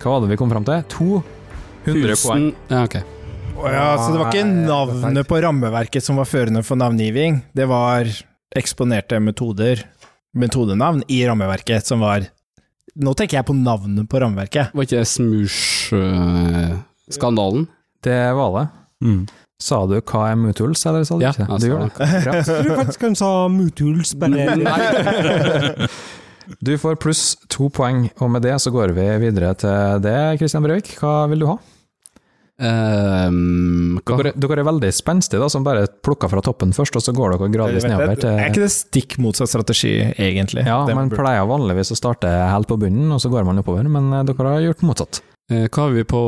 Hva var det vi kom fram til? 200 poeng. Tusen- Ja, ok. Å ja, så Ah, det var ikke Nei, navnet på rammeverket som var førende for navngiving, det var eksponerte metoder, metodenavn, i rammeverket som var Nå tenker jeg på navnet på rammeverket. Var ikke det Smoosh-skandalen? Det var det. Mm. Sa du hva er Mootuls, eller sa du Ja, ikke? Du jeg sa gjorde det. Bra. Jeg tror faktisk han sa Mutuls, Du får pluss to poeng, og med det så går vi videre til det, Kristian Brevik. Hva vil du ha? Ehm, hva? Dere, dere er veldig spenstige, da, som bare plukker fra toppen først, og så går dere gradvis nedover Det er til ikke det stikk motsatt strategi, egentlig? Ja, Det man burde- pleier vanligvis å starte helt på bunnen, og så går man oppover, men eh, dere har gjort motsatt. Eh, hva har vi på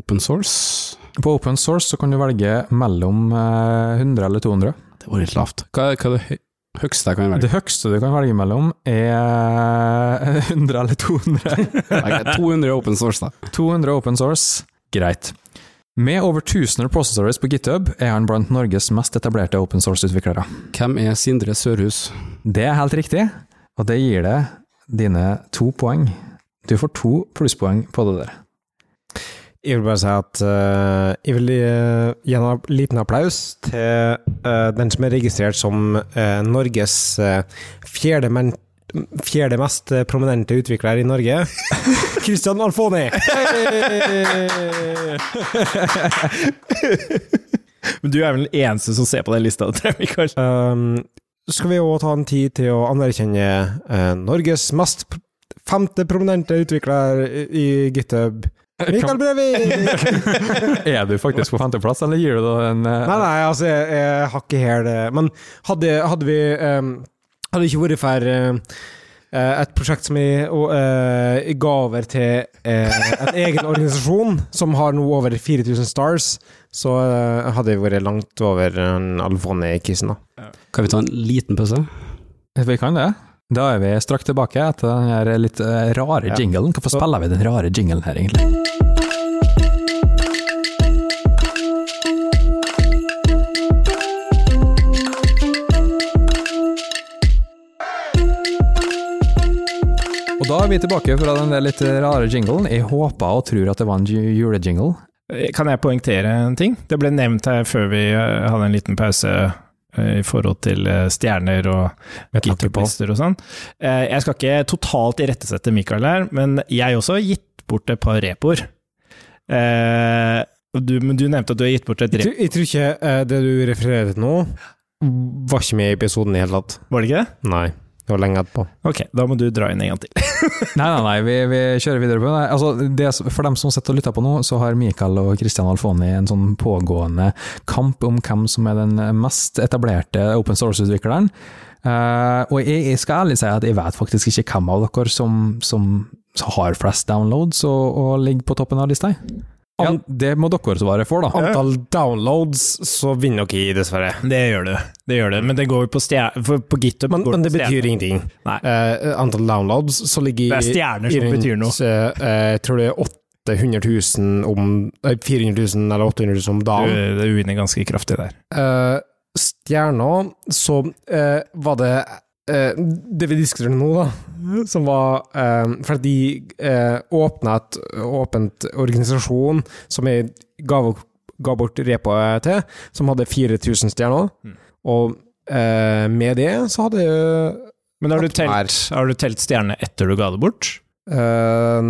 open source? På open source så kan du velge mellom eh, 100 eller 200. Det var litt lavt. Hva, hva er det høy- høyeste jeg kan velge? Det høyeste du kan velge mellom, er 100 eller 200. Ok, 200 open source, da. 200 open source, greit. Med over 1000 repositories på GitHub er han blant Norges mest etablerte open source-utviklere. Hvem er Sindre Sørhus? Det er helt riktig, og det gir deg dine to poeng. Du får to plusspoeng på det der. Jeg vil bare si at eh, jeg vil eh, gi en app- liten applaus til eh, den som er registrert som eh, Norges eh, fjerde, men, fjerde mest eh, prominente utvikler i Norge. Christian Alfoni! Men du er vel den eneste som ser på den lista, tror jeg, Mikael. Um, skal vi òg ta en tid til å anerkjenne eh, Norges mest pr femte prominente utvikler i GitHub? Mikael Brevik! Er du faktisk på femteplass, eller gir du da en eh, Nei, nei, altså, jeg, jeg har ikke helt det. Men hadde, hadde vi ehm, Hadde det ikke vært for ehm, eh, et prosjekt som jeg og, eh, jeg ga over til eh, en egen organisasjon, som har nå over 4000 stars, så eh, hadde jeg vært langt over en Alfoni i kissen, da. Kan vi ta en liten pause? Eh, Vi kan det. Da er vi straks tilbake etter den her litt eh, rare Ja. jinglen. Hvorfor spiller vi den rare jinglen her, egentlig? Og da er vi tilbake fra den der litt rare jinglen. Jeg håper og tror at det var en ju- julejingle. Eh, Kan jeg poengtere en ting? Det ble nevnt her før vi eh, hadde en liten pause eh, i forhold til eh, stjerner og GitHub-lister og sånn. Eh, Jeg skal ikke totalt irettesette Mikael her, men jeg også har gitt bort et par repoer. Eh, og du, men du nevnte at du har gitt bort et Jeg rep, tror, jeg tror ikke eh, det du refererer til nå, var ikke med i episoden i det hele tatt. var det ikke det? Nei. Det var lenge etterpå. Ok, da må du dra inn en gang til. Nei, nei, nei, vi, vi kjører videre på det. Altså, det. som- For dem som sitter og lytter på nå, så har Mikael og Christian Alfoni en sånn pågående kamp om hvem som er den mest etablerte open source-utvikleren. Eh, og jeg, jeg skal ærlig si at jeg vet faktisk ikke hvem av dere som, som har flest downloads og, og ligger på toppen av lista? Ja. Det må dere svare for, da. Antall downloads, så vinner dere i, dessverre. Det gjør det, det gjør det. Men det går jo på stjerne... For på GitHub Men, går men det på stjerne. betyr ingenting. Nei. Eh, antall downloads, så ligger Det er stjerner som i rundt, betyr noe. eh, jeg tror det er 800 000 om eh, 400 000 eller 800 000 om Du, dagen. det uinner ganske kraftig der. Uh, stjerner, så eh, var det eh, det vi diskuterer nå, da, som var eh, For at de uh, åpna et åpent organisasjon som jeg ga, ga bort repoet til, som hadde 4000 stjerner. Mm. Og eh, med det så hadde jeg Men har du, telt, Oppmerk. har du telt stjerne etter du ga det bort? Eh,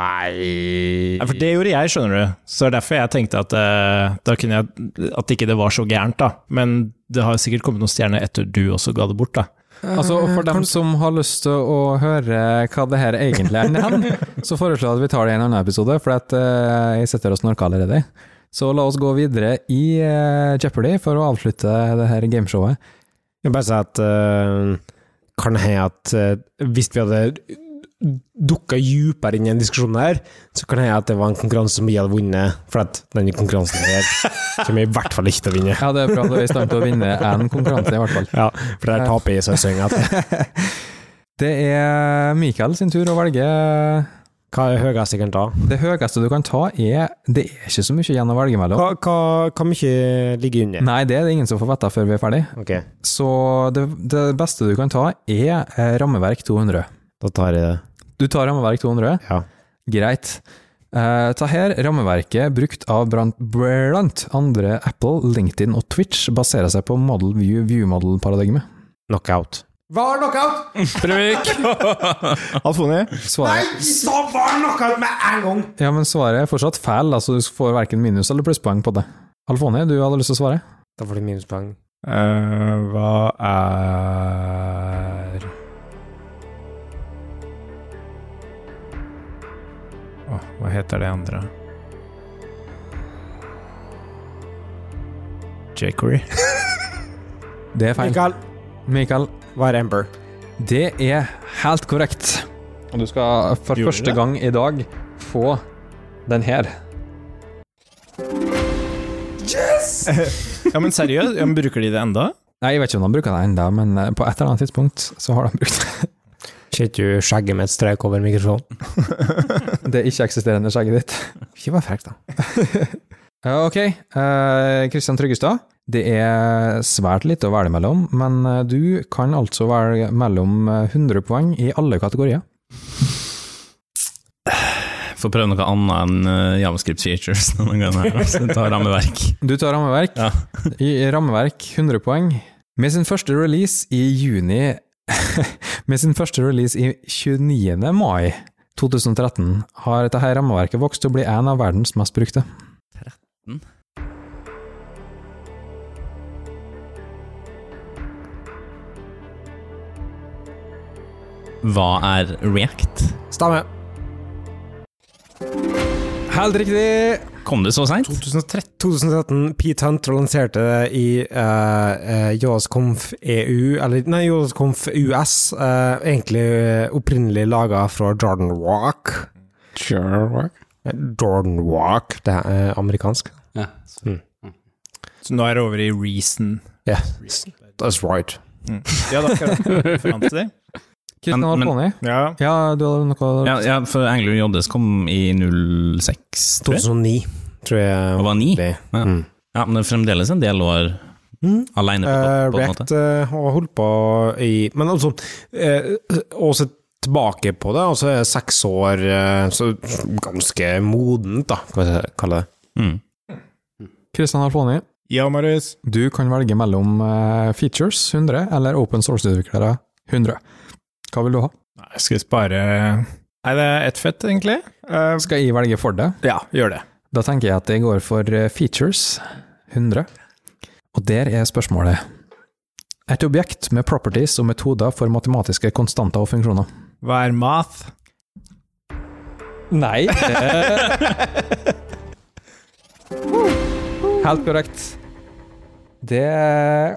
nei Nei, for det gjorde jeg, skjønner du. Så det er derfor jeg tenkte at, eh, da kunne jeg, at ikke det var så gærent, da. Men det har sikkert kommet noen stjerner etter du også ga det bort, da. Altså, For dem som har lyst til å høre hva det her egentlig er, hen, så foreslår jeg at vi tar det i en annen episode, for at, eh, jeg sitter og snorker allerede. Så la oss gå videre i eh, Jeopardy for å avslutte det her gameshowet. Jeg vil bare si at eh, kan hende at eh, hvis vi hadde dukka dypere inn i en diskusjon her, så kan hende at det var en konkurranse som vi hadde vunnet, for at denne konkurransen her kommer jeg i hvert fall ikke til å vinne. Ja, det er bra at du er i stand til å vinne en konkurranse, i hvert fall. Ja, for der taper jeg i sausøyinga. Det er Mikael sin tur å velge. Hva er høyest jeg kan ta? Det høyeste du kan ta, er Det er ikke så mye igjen å velge mellom. Hva, hva, hva mye ligger under? Nei, det er det ingen som får vite før vi er ferdig. Ok, Så det, det beste du kan ta, er eh, rammeverk 200. da tar jeg det. Du tar rammeverk 200. Ja. Greit. Eh, ta her rammeverket brukt av blant, blant andre Apple, LinkedIn og Twitch baserer seg på model view view model paradigmet. Knockout. Var knockout? Alfoni? Svaret, Så var knockout med en gang! ja, men svaret er fortsatt feil, altså du får verken minus eller plusspoeng på det. Alfoni, du hadde lyst til å svare? Da får du minuspoeng. hva er Åh, Hva heter det andre? Jacory. Det er feil. Mikael, Mikael, hva er Amber? det er helt korrekt. Og du skal for Gjorde første det? gang i dag få den her. Ja, men seriøst, ja, men bruker de det enda? Nei, jeg vet ikke om de bruker den ennå, men eh, på et eller annet tidspunkt så har de brukt den. Ser ikke du skjegget med et strek over mikrofonen? Det ikke-eksisterende skjegget ditt. Ikke vær frekk, da. Ja, Eh, Ok, Kristian Tryggestad. Det er svært lite å velge mellom, men eh, du kan altså velge mellom eh, 100 poeng i alle kategorier. Får prøve noe annet enn eh, javascript features noen ganger. her, Så ta rammeverk. Du tar rammeverk. Ja. I rammeverk 100 poeng. Med sin første release i juni Med sin første release i 29. mai 2013 har dette her rammeverket vokst til å bli en av verdens mest brukte. Hva er React? Stemme. Helt riktig! Kom det så seint? 2013, 2013 Pete Hunt lanserte det i uh, JOSConf EU, E eller nei, JOSConf US, eh, egentlig eh, opprinnelig laga fra Jordan Walk. Sure. Eh, Jordan Walk, det er eh, amerikansk. Ja. Så nå er det over i reason. Yeah, that's right. Ja, da skal jeg forandre det. Kristian Men- men- Alfoni, Ja. ja, du hadde noe Ja, ja, for Angler Joddes kom i 06, tror jeg. 2009, tror jeg. Det var ni. Det. Ja. Mm. Ja, men det er fremdeles en del år Mm. alene på, Eh, på, på en måte. React eh, har holdt på i Men altså, eh, også tilbake på det, altså er seks år, eh, så ganske modent, da, kan vi kalle det. Mm. Kristian Alfoni, Ja, Marius. du kan velge mellom eh, features 100 eller open source-utviklere 100. Hva vil du ha? Nei, skal vi spare Nei, det er ett fett, egentlig. Eh, Skal jeg velge for deg? ja, gjør det. Da tenker jeg at jeg går for eh, features 100. Og der er spørsmålet. Et objekt med properties og metoder for matematiske konstanter og funksjoner. Hva er math? Nei. Helt korrekt. Det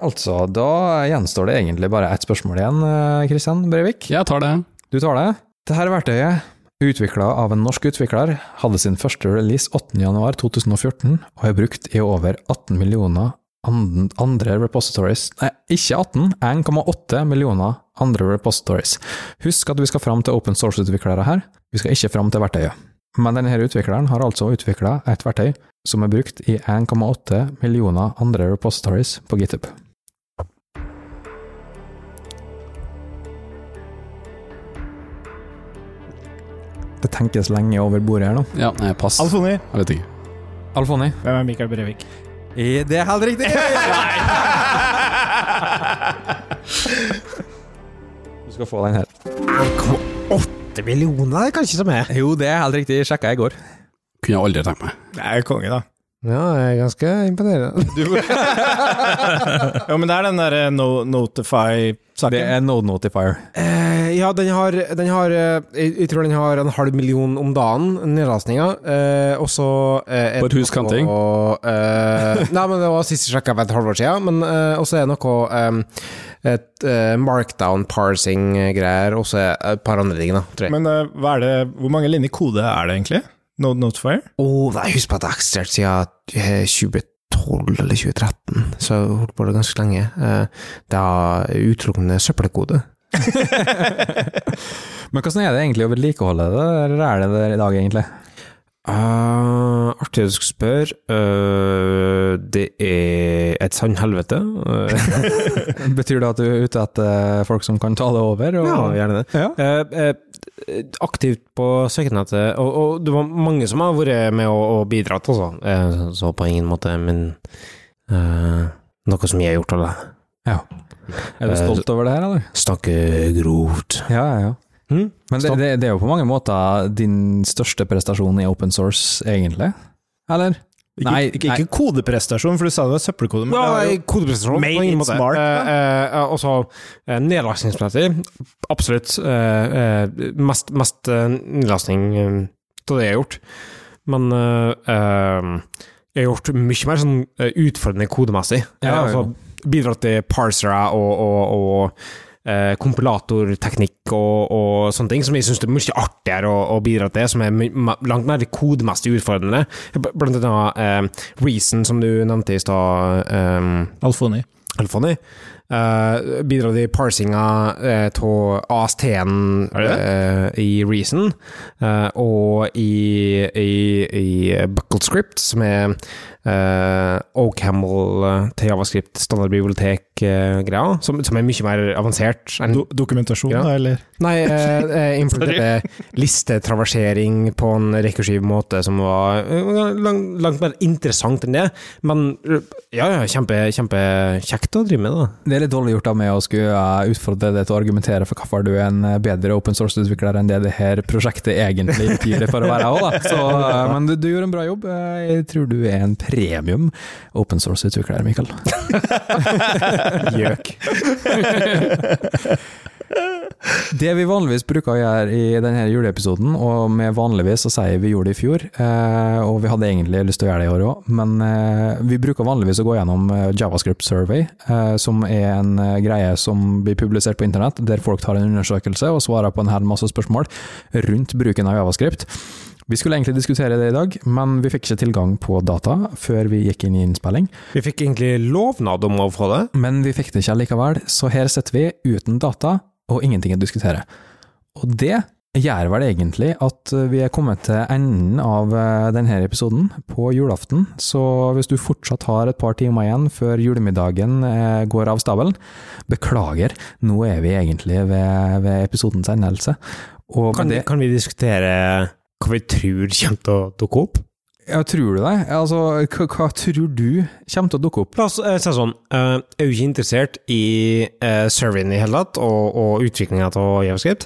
Altså, da gjenstår det egentlig bare ett spørsmål igjen, eh, Kristian Breivik. Jeg tar det. Du tar det. Det her verktøyet Utvikla av en norsk utvikler, hadde sin første release 8.1.2014 og er brukt i over 18 millioner anden- andre repositories Nei, ikke 18, 1,8 millioner andre repositories. Husk at vi skal fram til open source-utviklere her, vi skal ikke fram til verktøyet. Men denne her utvikleren har altså utvikla et verktøy som er brukt i 1,8 millioner andre repositories på GitHub. Det tenkes lenge over bordet her nå. Ja, nei, pass. Jeg Alfoni, vet ikke. Alfoni? hvem er Mikael Brevik? Det er helt riktig! Du skal få den her. 1,8 millioner, det er kanskje som er? Jo, det er helt riktig. Sjekka jeg i går. Kunne jeg aldri tenkt meg. Det er jo konge, da. Ja, det er ganske imponerende. Jo, men det er den derre no Det Notify-saken. er Node Notifier. Eh, ja, den har, den har eh, jeg, jeg tror den har en halv million om dagen, nedlastninger. Eh, og så eh, er På et det hus kan noe- ting. eh, nei, men det var sist jeg sjekka for et halvår siden. Men eh, også er det noe eh, et eh, markdown parsing-greier, og så er det et par andre ting, da, tror jeg. Men eh, hva er det, hvor mange linjer kode er det egentlig? No Notifier? Åh, nei, husk på at det har eksistert siden eh, 2012 eller 2013, så jeg har holdt på det ganske lenge. Eh, Det er utelukkende søppelkode. Men hvordan er det egentlig å vedlikeholde det, eller er det der i dag, egentlig? Eh, artig at du skal spørre. Eh, det er et sant helvete. Eh, Betyr det at du er ute etter eh, folk som kan ta det over? Og, ja, gjerne det. Ja. Eh, eh, aktivt på søkenettet, og, og det var mange som har vært med og, og bidratt, altså. Eh, så på ingen måte, men eh, noe som jeg har gjort, eller? Er du stolt over det her, eller? Snakke grovt. Ja, ja, ja. Hm? Mm. Men det, Stolt. det, det er jo på mange måter din største prestasjon i open source, egentlig? Eller? Ikke, Nei, ikke, nei. ikke kodeprestasjon, for du sa det var søppelkode. Men det er Ja, jo, kodeprestasjon Made på ingen it måte. smart, Eh, eh, og så eh, nedlastingsmessig, absolutt eh, eh, mest, mest eh, nedlasting eh, av det jeg har gjort. Men eh, eh, jeg har gjort mye mer sånn eh, utfordrende kodemessig. Ja, Ja, altså, bidratt til parsere og, og, og eh, kompilatorteknikk og, og sånne ting, som jeg syns er mye artigere å, å bidra til, som er my- ma- langt mer kodemessig utfordrende. B- Blant annet eh, Reason, som du nevnte i stad, eh, Alfoni. Alfoni, eh, bidrar til parsinga eh, av AST-en Er det eh, i Reason, eh, og i, i, i Buckled Script, som er uh, OCaml eh, til javascript standardbibliotek-greia, som, som er mye mer avansert Mm. enn Do dokumentasjon, Ja. da, eller? Nei, eh, eh, implementerte listetraversering på en rekursiv måte som var eh, lang, langt mer interessant enn det. Men eh, ja, ja, kjempe, kjempekjekt å drive med, da. Det er litt dårlig gjort av meg å skulle eh, utfordre deg til å argumentere for hvorfor du er en eh, bedre open source-utvikler enn det det her prosjektet egentlig betyr det for å være òg, da. Så, eh, men du, du gjør en bra jobb. Eh, Jeg tror du er en premium open source-utvikler, Mikael. Gjøk. Det vi vanligvis bruker å gjøre i denne juleepisoden, og med vanligvis så sier vi gjorde det i fjor, eh, og vi hadde egentlig lyst til å gjøre det i år òg, men eh, vi bruker vanligvis å gå gjennom eh, Javascript Survey, eh, som er en eh, greie som blir publisert på internett, der folk tar en undersøkelse og svarer på en hel masse spørsmål rundt bruken av Javascript. Vi skulle egentlig diskutere det i dag, men vi fikk ikke tilgang på data før vi gikk inn i innspilling. Vi fikk egentlig lovnad om å få det. Men vi fikk det ikke allikevel, så her sitter vi uten data og ingenting å diskutere. Og det gjør vel egentlig at vi er kommet til enden av eh, denne episoden på julaften, så hvis du fortsatt har et par timer igjen før julemiddagen eh, går av stabelen, beklager, nå er vi egentlig ved, ved episodens endelse. Og med Kan, det- kan vi diskutere hva vi tror kommer til å dukke opp? ja, tror du det? Altså, hva, hva tror du kommer til å dukke opp? La oss eh, si det sånn, eh, jeg er jo ikke interessert i eh, serveren i hele tatt, og, og utviklinga av Javascript.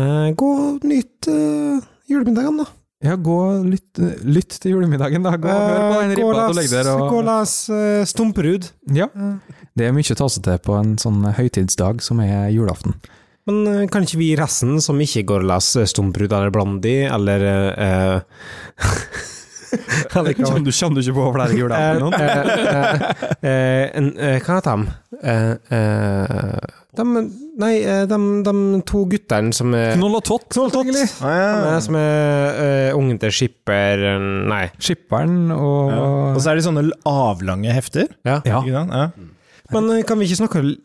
Eh, gå og nyt eh, julemiddagen, da. Ja, gå og lytt, lytt til julemiddagen, da. Gå og hør på den Eh, gå ribba og les- du legger der. og- Gå og les eh, Stumperud. Ja. Det er mye å ta seg til på en sånn høytidsdag som er julaften. Men eh, kan ikke vi resten, som ikke går og leser Stumperud eller Blandi, eller eh, Eller hva- du ikke på flere Eh, eh, eh, eh, en- eh, Hva heter de? Eh, eh, De, nei, eh, de, de to guttene som er Knoll og Tott, selvfølgelig. Ah, Som ja. er- Som er eh, ungen til skipper eh, Nei. Skipperen og Ja. Og så er det sånne avlange hefter. Ja. Ja. Ikke sant? Ja. Men eh, kan vi ikke snakke l-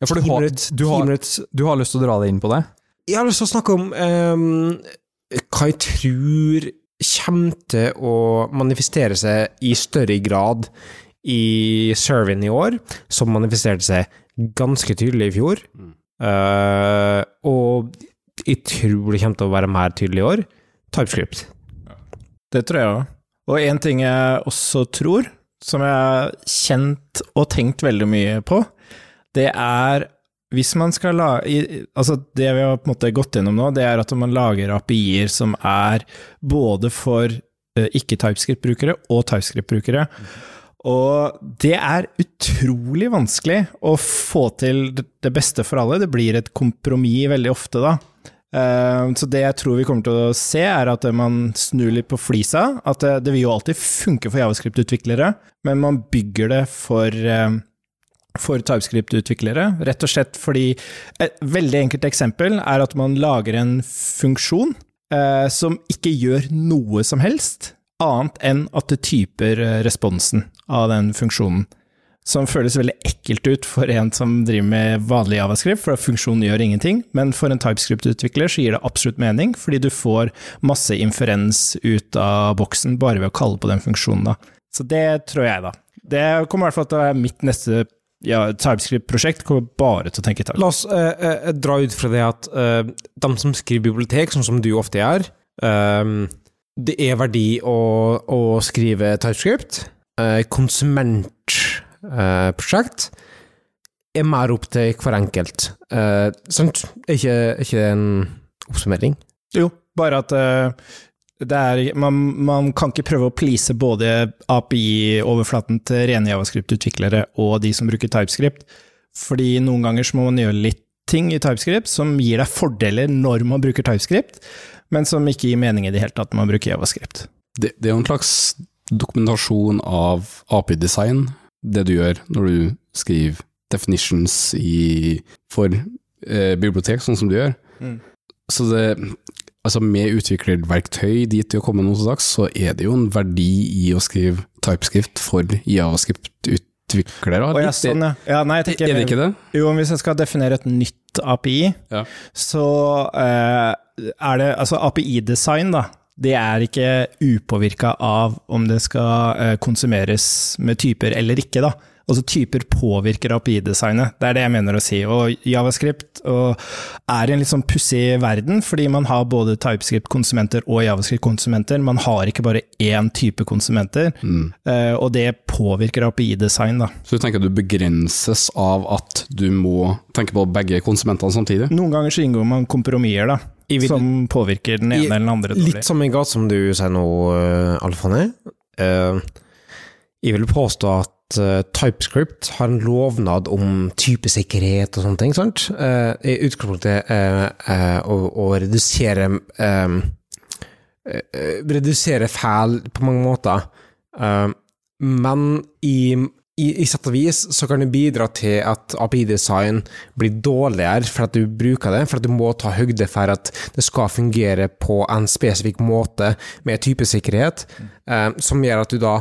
Ja, for du ti har, minutter- du, ti har, minutter du har lyst til å dra deg inn på det? Jeg har lyst til å snakke om eh, hva jeg tror kommer til å manifestere seg i større grad i surveyen i år, som manifesterte seg ganske tydelig i fjor. Eh, og jeg tror det kommer til å være mer tydelig i år. TypeScript. Det tror jeg òg. Og en ting jeg også tror, som jeg har kjent og tenkt veldig mye på, det er hvis man skal lage i- Altså, det vi har på en måte gått gjennom nå, det er at man lager API-er som er både for eh, ikke-TypeScript-brukere og TypeScript-brukere. Og det er utrolig vanskelig å få til det beste for alle. Det blir et kompromiss veldig ofte, da. Eh, Så det jeg tror vi kommer til å se, er at man snur litt på flisa. At det, det vil jo alltid funke for javascript-utviklere, men man bygger det for eh, for TypeScript-utviklere, rett og slett fordi Et veldig enkelt eksempel er at man lager en funksjon eh, som ikke gjør noe som helst, annet enn at det typer eh, responsen av den funksjonen. Som føles veldig ekkelt ut for en som driver med vanlig javascript, for funksjonen gjør ingenting, men for en TypeScript-utvikler så gir det absolutt mening, fordi du får masse inferens ut av boksen bare ved å kalle på den funksjonen, da. Så det tror jeg, da. Det kommer i hvert fall til å være mitt neste ja, TypeScript-prosjekt kommer bare til å tenke TypeScript. La oss eh, eh, dra ut fra det at eh, de som skriver bibliotek, sånn som du ofte gjør, eh, det er verdi å, å skrive TypeScript. eh, Konsumentprosjekt er mer opp til hver enkelt. Eh, sant? Er ikke, er ikke det en oppsummering? Jo, bare at eh, det er man, man kan ikke prøve å please både API-overflaten til rene javascript-utviklere og de som bruker TypeScript, fordi noen ganger så må man gjøre litt ting i TypeScript som gir deg fordeler når man bruker TypeScript, men som ikke gir mening i det hele tatt når man bruker javascript. Det, det er jo en slags dokumentasjon av API-design, det du gjør når du skriver definitions i, for eh, bibliotek, sånn som du gjør. Mm. Så det, altså med utviklerverktøy dit til å komme noen slags, så er det jo en verdi i å skrive TypeScript for JavaScript-utviklere. Å ja, sånn, ja. ja nei, jeg Er tenker, det ikke det? Jo, men hvis jeg skal definere et nytt API, Ja. så eh, er det Altså, API-design, da. Det er ikke upåvirka av om det skal eh, konsumeres med typer eller ikke, da. Altså, typer påvirker API-designet. Det er det jeg mener å si. Og javascript og er i en litt sånn pussig verden, fordi man har både TypeScript-konsumenter og javascript-konsumenter. Man har ikke bare én type konsumenter, Mm. eh, og det påvirker API-design, da. Så du tenker du begrenses av at du må tenke på begge konsumentene samtidig? Noen ganger så inngår man kompromisser, da. Jeg vil- som påvirker den ene I- eller den andre. dårlig. Litt som i gata som du sier nå, eh, Alfane. Eh, jeg vil påstå at eh, TypeScript har en lovnad om typesikkerhet og sånne ting, sant? Eh, I utgangspunktet eh, eh, å, å redusere eh, eh, eh, Redusere feil på mange måter. Eh, men i i, I sett og vis så kan det bidra til at API-design blir dårligere for at du bruker det, for at du må ta høyde for at det skal fungere på en spesifikk måte med typesikkerhet, eh, som gjør at du da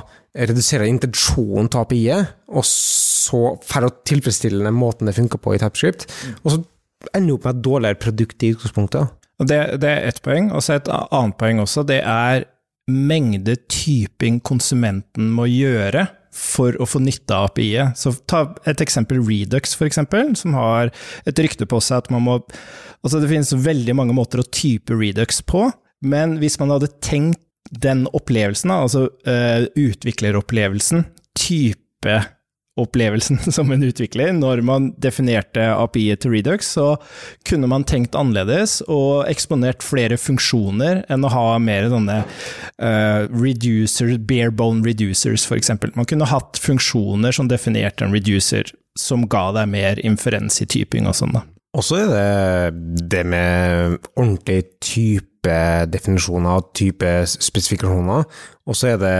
reduserer intensjonen til API-et, og så for å tilfredsstille den måten det funker på i TypeScript, og så ender du opp med et dårligere produkt i utgangspunktet. Og Det, det er ett poeng. Og så et a- annet poeng også. Det er mengde typing konsumenten må gjøre for å få nytte av API-et. Så ta et eksempel Redux, for eksempel, som har et rykte på seg at man må Altså, det finnes veldig mange måter å type Redux på, men hvis man hadde tenkt den opplevelsen, da, altså eh, utvikleropplevelsen, typeopplevelsen som en utvikler, når man definerte API-et til Redux, så kunne man tenkt annerledes og eksponert flere funksjoner enn å ha mer sånne eh, reducers, barebone reducers for eksempel. Man kunne hatt funksjoner som definerte en reducer, som ga deg mer inferens i typing og sånn da. Og så er det det med ordentlig typedefinisjoner og typespesifikasjoner, og så er det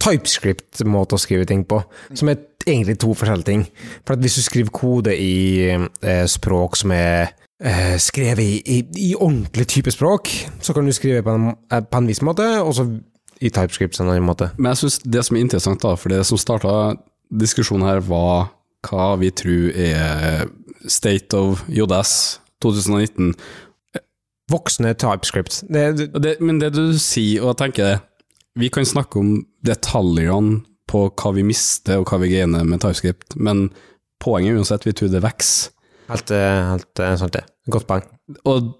TypeScript-måte å skrive ting på, som er egentlig to forskjellige ting. For at hvis du skriver kode i eh, språk som er eh, skrevet i, i, i ordentlig type språk, så kan du skrive på en, eh, på en viss måte, og så i TypeScript på en annen måte. Men jeg synes det som er interessant, da, for det som starta diskusjonen her, var hva vi tror er state of JS 2019. Voksne TypeScript. Det, det, Og Det, men det du sier, og jeg tenker Vi kan snakke om detaljene på hva vi mister og hva vi gainer med TypeScript, men poenget er uansett vi tror det vokser. helt, eh, helt eh, sant, det. Godt poeng. Og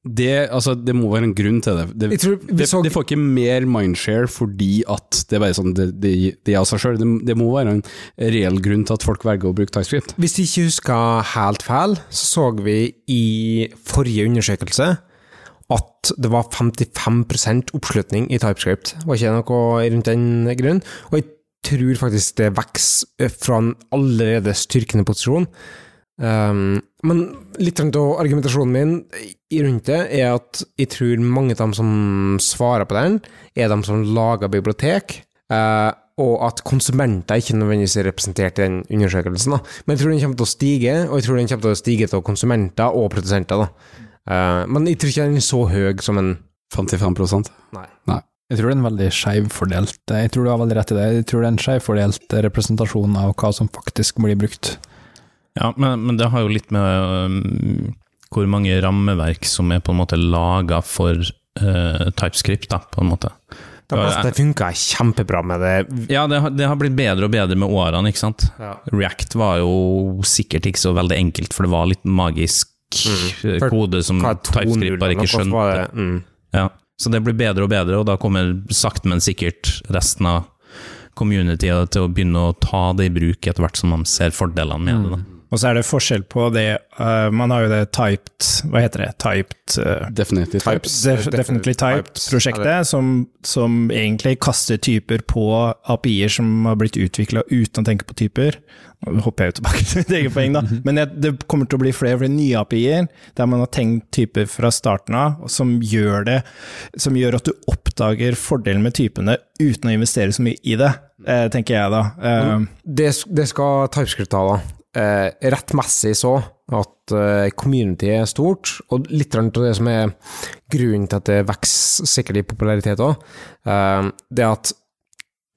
det, altså, det må være en grunn til det. Det, Jeg tror vi det, så- det får ikke mer mindshare fordi at det er bare sånn, det, det, det er av seg sjøl. Det, det må være en reell grunn til at folk velger å bruke TypeScript. Hvis jeg ikke husker helt feil, så så vi i forrige undersøkelse at det var 55 oppslutning i TypeScript. Var ikke det noe rundt den grunn? Og jeg tror faktisk det vokser fra en allerede styrkende posisjon. Ehm, men litt rundt av argumentasjonen min i- rundt det er at jeg tror mange av dem som svarer på den, er de som lager bibliotek, eh, og at konsumenter ikke nødvendigvis er representert i den undersøkelsen. Da. Men jeg tror den kommer til å stige, og jeg tror den kommer til å stige av konsumenter og produsenter. Da. Eh, men jeg tror ikke den er så høy som en 55 Nei. Jeg tror det er en veldig skjevfordelt Jeg tror du har veldig rett i det. Jeg tror det er en skjevfordelt representasjon av hva som faktisk blir brukt. Ja, men, men det har jo litt med øhm, hvor mange rammeverk som er på en måte laga for øh, TypeScript, da, på en måte. De fleste funker kjempebra med det. Ja, det har, det har blitt bedre og bedre med årene, ikke sant? Ja. React var jo sikkert ikke så veldig enkelt, for det var litt magisk eh, For kode som Mm. Hva er to TypeScript bare nuller, ikke noe, hva skjønte. er det? Mm. Ja. Så det blir bedre og bedre, og da kommer sakte, men sikkert resten av communityet til å begynne å ta det i bruk etter hvert som de ser fordelene med det. Da. Og så er det forskjell på det eh, Man har jo det typed Hva heter det? Typed eh, Definitivt. Types. Def definitely Types. Typed-prosjektet, som, som egentlig kaster typer på API-er som har blitt utvikla uten å tenke på typer. Nå hopper jeg jo tilbake til mitt eget poeng, da. Mhm. Men jeg, det kommer til å bli flere og flere nye API-er, der man har tenkt typer fra starten av, og som gjør, det, som gjør at du oppdager fordelen med typene uten å investere så mye i det, eh, tenker jeg da. Eh, Mm. det, det skal TypeScript ha, da. Eh, rettmessig så at eh, community er stort, og litt av det som er grunnen til at det vokser sikkert i popularitet òg, eh, det er at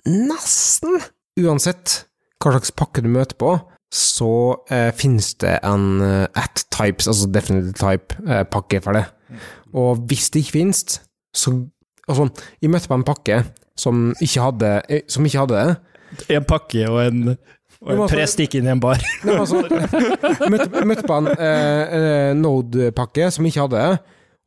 nesten uansett hva slags pakke du møter på, så eh, finnes det en eh, at types, altså definite type-pakke for det. Og hvis det ikke finnes, så Altså, jeg møtte på en pakke som ikke hadde, eh, som ikke hadde det. Eh, en pakke og en, og Men en altså- prest gikk inn i en bar. Nei, men altså, møtte, møtte på en eh, eh, Node-pakke som ikke hadde det,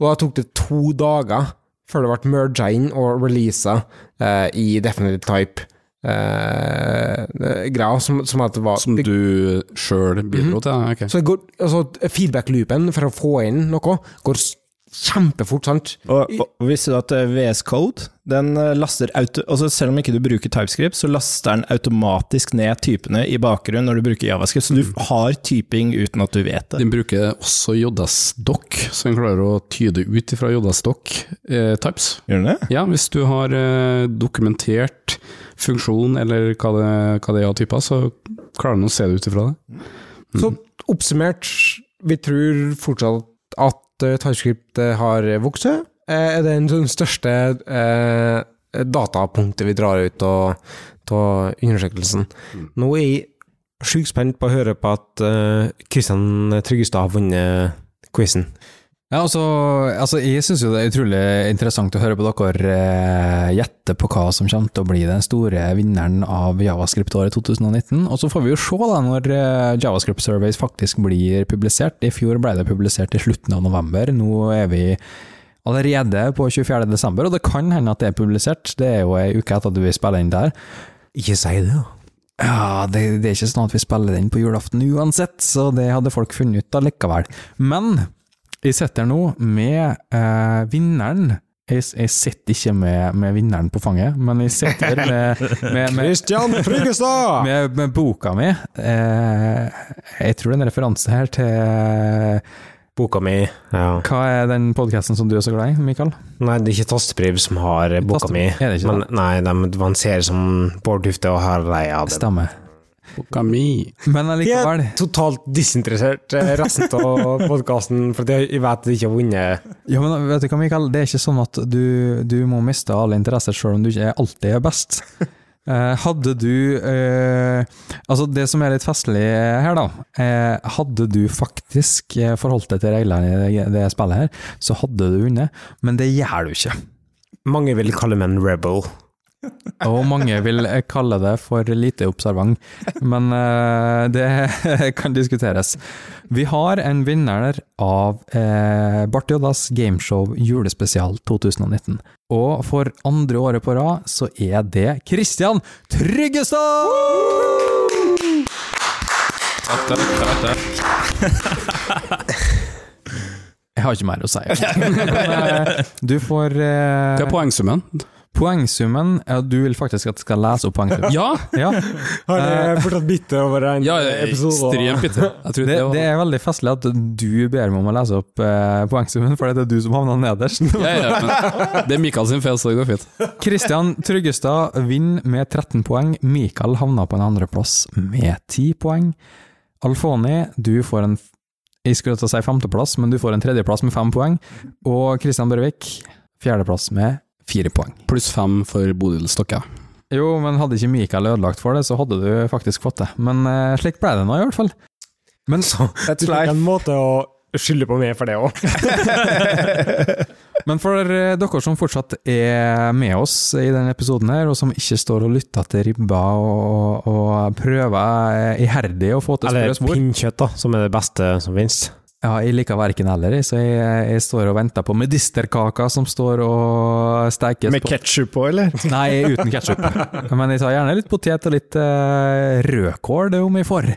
og da tok det to dager før det ble merga inn og releasa eh, i Definite Type. eh, greia som, som at det var Som du sjøl bidro til? ja, ok. Så det går, altså, feedback-loopen for å få inn noe går s- kjempefort, sant? Og, og visste du at eh, VS Code, den eh, laster auto, altså selv om ikke du bruker TypeScript, så laster den automatisk ned typene i bakgrunnen når du bruker Mm. JavaScript, så du har typing uten at du vet det. Den bruker også JS-dokk, så den klarer å tyde ut ifra JS-dokk eh, types. Gjør den det? Ja, hvis du har eh, dokumentert funksjon eller hva det, hva det er av typer, så klarer den å se det ut ifra det. Så Mm. oppsummert, vi tror fortsatt at eh, TypeScript eh, har vokst. Eh, er det er den største eh, datapunktet vi drar ut av av undersøkelsen. Mm. Nå er jeg sjukt spent på å høre på at eh, Kristian Tryggestad har vunnet quizen. Ja, altså, altså Jeg syns jo det er utrolig interessant å høre på dere eh, gjette på hva som kommer til å bli den store vinneren av Javascript-året 2019. Og så får vi jo se da når eh, Javascript Surveys faktisk blir publisert. I fjor ble det publisert i slutten av november. Nå er vi allerede på 24. desember, og det kan hende at det er publisert. Det er jo ei uke etter at vi spiller inn der. Ikke si det, da. Ja, det, det er ikke sånn at vi spiller den på julaften uansett, så det hadde folk funnet ut allikevel. Men jeg sitter nå med eh, vinneren. Jeg, jeg sitter ikke med, med vinneren på fanget, men jeg sitter med, med, med, Kristian Tryggestad! med, med boka mi. Eh, jeg tror det er en referanse her til Boka mi ja. Hva er den podkasten som du er så glad i, Mikael? Nei, det er ikke Tastepriv som har eh, boka mi. Er det ikke Men, nei, det var en serie som Bård Tufte og Harald Eia hadde. Stemmer. Kami. Men allikevel Jeg er totalt disinteressert eh, resten av podkasten, for jeg jeg vet at jeg ikke har vunnet. Ja, men vet du hva, Mikael, det er ikke sånn at du, du må miste alle interesser selv om du ikke er alltid er best. Eh, hadde du eh, Altså, det som er litt festlig her, da eh, Hadde du faktisk eh, forholdt deg til reglene i det, det spillet her, så hadde du vunnet, men det gjør du ikke. Mange vil kalle meg en rebel. Og mange vil eh, kalle det for lite observant, men eh, det kan diskuteres. Vi har en vinner av eh, Bart Joddas gameshow julespesial 2019. Og for andre året på rad så er det Kristian Tryggestad! Jeg har ikke mer å si. Men, eh, Du får eh, Hva er poengsummen? Poengsummen ja, Du vil faktisk at jeg skal lese opp poengsummen? Ja! Ja, Har dere fortsatt bitte over en ja episode? Ekstremt bitte. Jeg det, tror det, var- det er veldig festlig at du ber meg om å lese opp eh, poengsummen, for det er du som havna nederst. ja, ja, men det er Mikael sin feil, så det går fint. Kristian Tryggestad vinner med 13 poeng. Mikael havna på en andreplass med 10 poeng. Alfoni, du får en jeg skulle til å si femteplass, men du får en tredjeplass med fem poeng. Og Kristian Børvik, fjerdeplass med fire poeng. Pluss fem for Bodil Stokke. Jo, men hadde ikke Mikael ødelagt for det, så hadde du faktisk fått det. Men eh, slik ble det nå, i hvert fall. Men Jeg tror det er en måte å skylde på meg for det òg. Men for eh, dere som fortsatt er med oss i denne episoden her, og som ikke står og lytter til ribba og, og prøver eh, iherdig å få til Eller spørsmål pinnkjøtt, da, som er det beste som finnes. Ja, jeg liker verken eller, jeg, så jeg, jeg står og venter på medisterkaka som står og stekes Med ketsjup på, eller? på Nei, uten ketsjup. Men jeg tar gjerne litt potet og litt eh, rødkål, det om jeg får.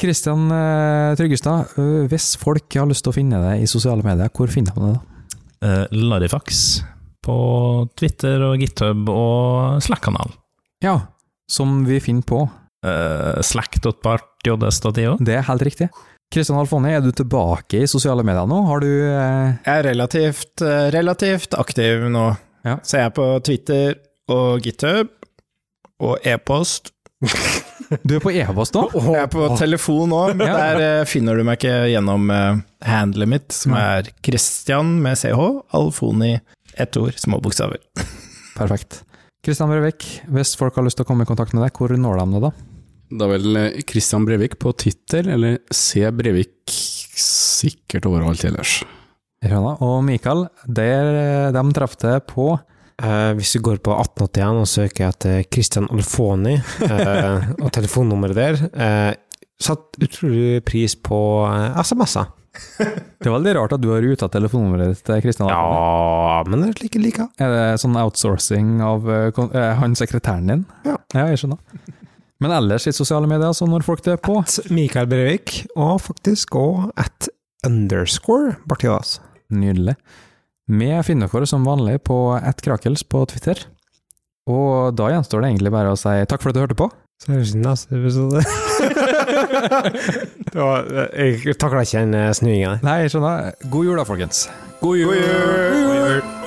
Kristian Tryggestad, eh, hvis folk har lyst til å finne deg i sosiale medier, hvor finner man deg da? Eh, Larifax på Twitter og GitHub og Slack-kanal. Ja, som vi finner på. Uh, Slack.bartjds.io. Det er helt riktig. Kristian Alfoni, er du tilbake i sosiale medier nå? Har du eh, Jeg er relativt, eh, relativt aktiv nå. Ja. Så jeg er på Twitter og GitHub og e-post. Du er på e-post nå? Eh, Jeg er på telefon òg, men Ja. der eh, finner du meg ikke gjennom eh, handlet mitt, som er Christian med ch, Alfoni, ett ord, små bokstaver. Perfekt. Kristian Brevik, hvis folk har lyst til å komme i kontakt med deg, hvor når de deg da? Det er vel eh, Christian Brevik på Twitter, eller C. Brevik sikkert overalt ellers. Jeg skjønner. Og Mikael, der, eh, de traff deg på Eh, hvis du går på 1881 og søker etter Christian Alfoni eh, og telefonnummeret der, uh, satt utrolig pris på eh, SMS-er. Det er veldig rart at du har ruta telefonnummeret ditt til Kristian. Alfoni. Ja, men det er like like. Er det sånn outsourcing av eh, kon- eh, han sekretæren din? Ja. jeg skjønner. Men ellers i sosiale medier, så når folk det er på At Mikael Brevik, og faktisk også at underscore Bartidas. Nydelig. Vi finner dere som vanlig på attkrakels på Twitter. Og da gjenstår det egentlig bare å si takk for at du hørte på. Så høres det neste episode. det var, jeg takla ikke den eh, snuingen der. Nei, jeg skjønner. God jul da, folkens. God jul! God jul!